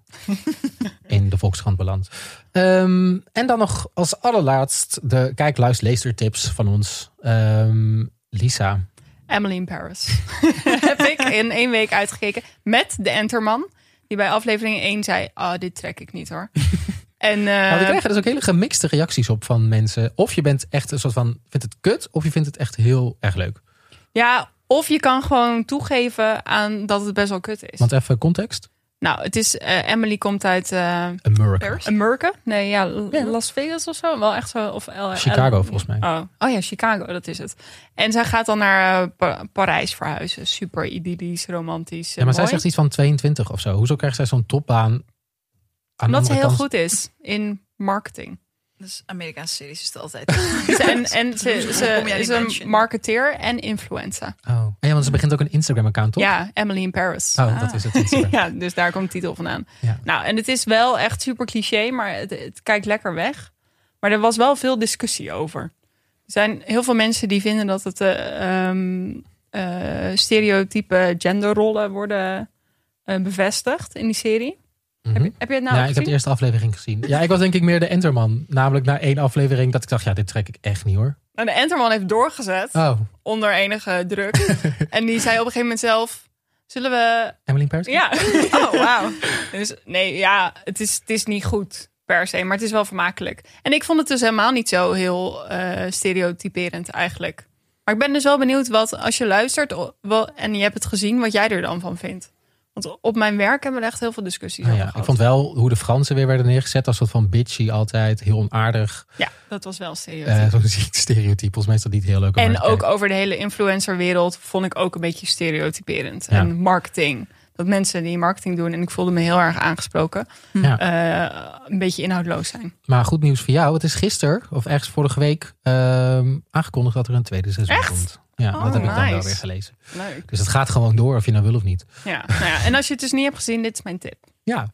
[SPEAKER 4] in de Volkskrant beland. Ehm, en dan nog als allerlaatst de kijk, luister, leestertips van ons. Ehm, Lisa.
[SPEAKER 2] Emily in Paris. Heb ik in één week uitgekeken met de Enterman. Die bij aflevering 1 zei, ah, dit trek ik niet hoor. en eh,
[SPEAKER 4] Nou, we krijgen dus ook hele gemixte reacties op van mensen. Of je bent echt een soort van, vindt het kut, of je vindt het echt heel erg leuk.
[SPEAKER 2] ja, of je kan gewoon toegeven aan dat het best wel kut is.
[SPEAKER 4] Want even context.
[SPEAKER 2] nou, het is, eh, Emily komt uit eh
[SPEAKER 4] America.
[SPEAKER 2] Amerika. Nee, ja, L- Las Vegas of zo. Wel echt zo. Of eh, L-
[SPEAKER 4] Chicago volgens mij.
[SPEAKER 2] Oh. oh ja, Chicago, dat is het. En zij gaat dan naar eh, Pa- Parijs verhuizen. Super idyllisch, romantisch. eh,
[SPEAKER 4] Ja, maar zij
[SPEAKER 2] mooi.
[SPEAKER 4] zegt iets van 22 of zo. Hoezo krijgt zij zo'n topbaan? aan de
[SPEAKER 2] Omdat ze
[SPEAKER 4] andere
[SPEAKER 2] heel
[SPEAKER 4] kant?
[SPEAKER 2] goed is in marketing.
[SPEAKER 3] dus Amerikaanse series is het altijd.
[SPEAKER 2] Ze- En, en ze, ze
[SPEAKER 3] Kom jij
[SPEAKER 2] is
[SPEAKER 3] die mansion?
[SPEAKER 2] een marketeer en influencer.
[SPEAKER 4] Oh. Ja, want ze begint ook een Instagram-account, toch?
[SPEAKER 2] Ja, Emily in Paris.
[SPEAKER 4] Oh, dat is het Instagram.
[SPEAKER 2] Ja, dus daar komt de titel vandaan.
[SPEAKER 4] Ja.
[SPEAKER 2] Nou, en het is wel echt super cliché, maar het, het kijkt lekker weg. Maar er was wel veel discussie over. Er zijn heel veel mensen die vinden dat het eh, ehm, eh, stereotype genderrollen worden eh, bevestigd in die serie.
[SPEAKER 4] Mhm.
[SPEAKER 2] heb, je, heb je het nou
[SPEAKER 4] ja,
[SPEAKER 2] ook
[SPEAKER 4] ik heb de
[SPEAKER 2] gezien?
[SPEAKER 4] eerste aflevering gezien. Ja, ik was denk ik meer de Enterman. Namelijk na één aflevering dat ik dacht, ja, dit trek ik echt niet hoor.
[SPEAKER 2] Nou, de Enterman heeft doorgezet
[SPEAKER 4] Oh,
[SPEAKER 2] onder enige druk. en die zei op een gegeven moment zelf... Zullen we
[SPEAKER 4] Emily in Paris?
[SPEAKER 2] Ja. Oh, wauw. Dus nee, ja, het is, het is niet goed per se, maar het is wel vermakelijk. En ik vond het dus helemaal niet zo heel eh, stereotyperend eigenlijk. Maar ik ben dus wel benieuwd wat, als je luistert o- wel- en je hebt het gezien, wat jij er dan van vindt. Want op mijn werk hebben we er echt heel veel discussies
[SPEAKER 4] Nou
[SPEAKER 2] over
[SPEAKER 4] ja, ik
[SPEAKER 2] gehad.
[SPEAKER 4] vond wel hoe de Fransen weer werden neergezet als wat van bitchy altijd. Heel onaardig.
[SPEAKER 2] Ja, dat was wel serieus.
[SPEAKER 4] Eh Zo'n ziek stereotype. Volgens mij is dat niet heel leuk. om
[SPEAKER 2] en
[SPEAKER 4] naar te
[SPEAKER 2] ook
[SPEAKER 4] kijken.
[SPEAKER 2] over de hele influencerwereld vond ik ook een beetje stereotyperend.
[SPEAKER 4] Ja.
[SPEAKER 2] En marketing. Dat mensen die marketing doen, en ik voelde me heel erg aangesproken,
[SPEAKER 4] Ja.
[SPEAKER 2] eh, een beetje inhoudloos zijn.
[SPEAKER 4] Maar goed nieuws voor jou. Het is gisteren, of ergens vorige week, ehm, aangekondigd dat er een tweede seizoen
[SPEAKER 2] Echt?
[SPEAKER 4] komt. Ja,
[SPEAKER 2] Oh,
[SPEAKER 4] dat heb ik dan wel
[SPEAKER 2] nice.
[SPEAKER 4] weer gelezen.
[SPEAKER 2] Leuk.
[SPEAKER 4] Dus het gaat gewoon door, of je nou wil of niet.
[SPEAKER 2] Ja, nou ja, en als je het dus niet hebt gezien, dit is mijn tip.
[SPEAKER 4] Ja,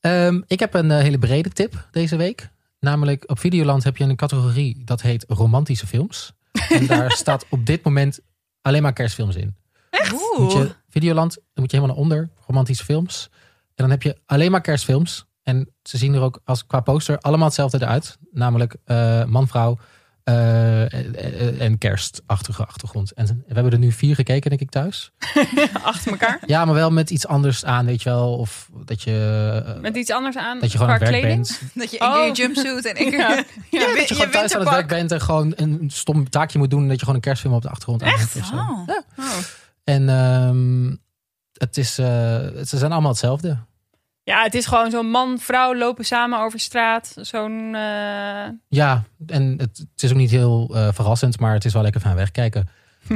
[SPEAKER 4] Ehm, ik heb een eh, hele brede tip deze week. Namelijk op Videoland heb je een categorie dat heet romantische films. En daar staat op dit moment alleen maar kerstfilms in. Moet
[SPEAKER 3] Oeh.
[SPEAKER 4] je, Videoland, dan moet je helemaal naar onder, romantische films. En dan heb je alleen maar kerstfilms. En ze zien er ook als qua poster allemaal hetzelfde eruit. Namelijk eh, man, vrouw eh, eh, eh, en kerstachtige achtergrond. En we hebben er nu vier gekeken, denk ik, thuis.
[SPEAKER 2] Achter elkaar.
[SPEAKER 4] Ja, maar wel met iets anders aan, weet je wel. Of dat je, eh,
[SPEAKER 2] Met iets anders aan.
[SPEAKER 4] dat je gewoon aan
[SPEAKER 2] qua
[SPEAKER 4] het werk
[SPEAKER 2] kleding.
[SPEAKER 4] bent.
[SPEAKER 3] Dat je één keer je
[SPEAKER 2] Oh.
[SPEAKER 3] jumpsuit en één keer
[SPEAKER 2] Ja.
[SPEAKER 3] je,
[SPEAKER 4] dat je gewoon thuis aan het werk bent en gewoon een stom taakje moet doen. en Dat je gewoon een kerstfilm op de achtergrond aan hebt of zo.
[SPEAKER 3] Oh.
[SPEAKER 2] Oh.
[SPEAKER 4] En ehm, het is, eh, ze zijn allemaal hetzelfde.
[SPEAKER 2] Ja, het is gewoon zo'n man, vrouw lopen samen over straat. Zo'n. eh,
[SPEAKER 4] Ja, en het, het is ook niet heel eh, verrassend, maar het is wel lekker van wegkijken.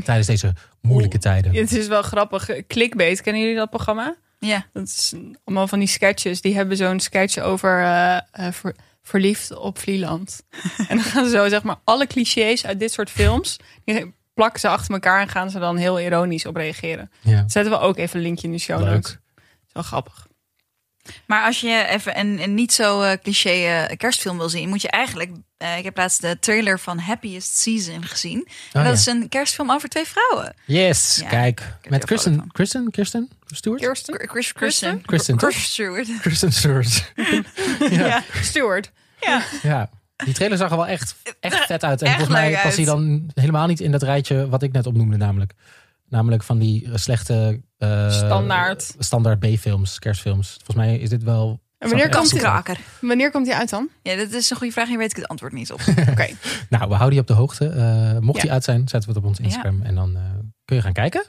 [SPEAKER 4] Tijdens deze moeilijke tijden.
[SPEAKER 2] Het is wel grappig. Clickbait, kennen jullie dat programma?
[SPEAKER 3] Ja.
[SPEAKER 2] Dat is allemaal van die sketches. Die hebben zo'n sketch over eh, eh, ver- verliefd op Vlieland. en dan gaan ze zo, zeg maar, alle clichés uit dit soort films. Die plakken ze achter elkaar en gaan ze dan heel ironisch op reageren.
[SPEAKER 4] Ja,
[SPEAKER 2] Zetten we ook even een linkje in de show notes.
[SPEAKER 4] leuk.
[SPEAKER 2] Zo grappig.
[SPEAKER 3] Maar als je even een, een niet zo eh, cliché eh, kerstfilm wil zien, moet je eigenlijk. eh, ik heb laatst de trailer van Happiest Season gezien. en
[SPEAKER 4] Oh,
[SPEAKER 3] dat
[SPEAKER 4] ja.
[SPEAKER 3] is een kerstfilm over twee vrouwen.
[SPEAKER 4] Yes,
[SPEAKER 3] Ja,
[SPEAKER 4] kijk.
[SPEAKER 3] er
[SPEAKER 4] Met
[SPEAKER 3] heel
[SPEAKER 4] Kristen,
[SPEAKER 3] vrolijk
[SPEAKER 4] Kristen, Kristen Stewart?
[SPEAKER 2] Kirsten?
[SPEAKER 3] Chris- Chris Kristen.
[SPEAKER 4] Kristen, toch?
[SPEAKER 3] Chris Stewart.
[SPEAKER 4] Kristen Stewart.
[SPEAKER 3] Ja.
[SPEAKER 2] Stewart.
[SPEAKER 4] ja. Die trailer zag er wel echt,
[SPEAKER 2] Eh,
[SPEAKER 4] echt vet uit. En
[SPEAKER 3] Echt
[SPEAKER 4] volgens mij
[SPEAKER 3] leuk
[SPEAKER 4] past hij
[SPEAKER 3] uit.
[SPEAKER 4] dan helemaal niet in dat rijtje wat ik net opnoemde namelijk. Namelijk van die slechte... eh,
[SPEAKER 2] Standaard.
[SPEAKER 4] Standaard B-films, kerstfilms. Volgens mij is dit wel...
[SPEAKER 2] En wanneer
[SPEAKER 4] zag er echt
[SPEAKER 2] komt,
[SPEAKER 4] goed
[SPEAKER 2] die,
[SPEAKER 4] uit.
[SPEAKER 3] Kraker.
[SPEAKER 2] wanneer komt die uit dan?
[SPEAKER 3] Ja, dat is een goede vraag. Hier weet ik het antwoord niet op.
[SPEAKER 2] Oké.
[SPEAKER 4] Nou, we houden je op de hoogte. Eh, mocht
[SPEAKER 2] Ja.
[SPEAKER 4] die uit zijn, zetten we het op ons Instagram. En dan eh, kun je gaan kijken.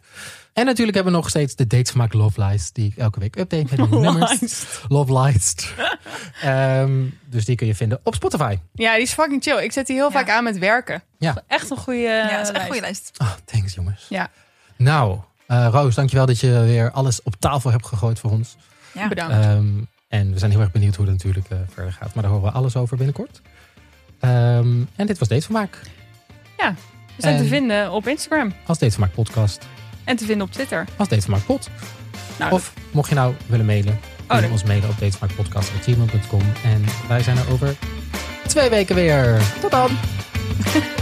[SPEAKER 4] En natuurlijk hebben we nog steeds de Dates Maak Love Lies. Die ik elke week update met nieuwe nummers. Love Lies. Ehm, dus die kun je vinden op Spotify.
[SPEAKER 2] Ja, die is fucking chill. Ik zet die heel
[SPEAKER 3] Ja.
[SPEAKER 2] vaak aan met werken.
[SPEAKER 4] Ja.
[SPEAKER 2] Echt een goede.
[SPEAKER 3] ja, dat is echt een goede lijst.
[SPEAKER 4] Ah, thanks jongens.
[SPEAKER 2] Ja.
[SPEAKER 4] Nou, eh, Roos, dankjewel dat je weer alles op tafel hebt gegooid voor ons.
[SPEAKER 3] Ja.
[SPEAKER 2] Bedankt.
[SPEAKER 4] Ehm, en we zijn heel erg benieuwd hoe dat natuurlijk eh, verder gaat. Maar daar horen we alles over binnenkort. Ehm, en dit was Datevermaak.
[SPEAKER 2] We zijn
[SPEAKER 4] en-
[SPEAKER 2] te vinden op Instagram
[SPEAKER 4] Als Datevermaak podcast.
[SPEAKER 2] en te vinden op Twitter.
[SPEAKER 4] Als Datevermaak pod.
[SPEAKER 2] Nou,
[SPEAKER 4] Of mocht je nou willen mailen, kun je
[SPEAKER 2] dat-
[SPEAKER 4] ons mailen op datesmaakpodcast.gmail.com. En wij zijn er over twee weken weer. Tot dan!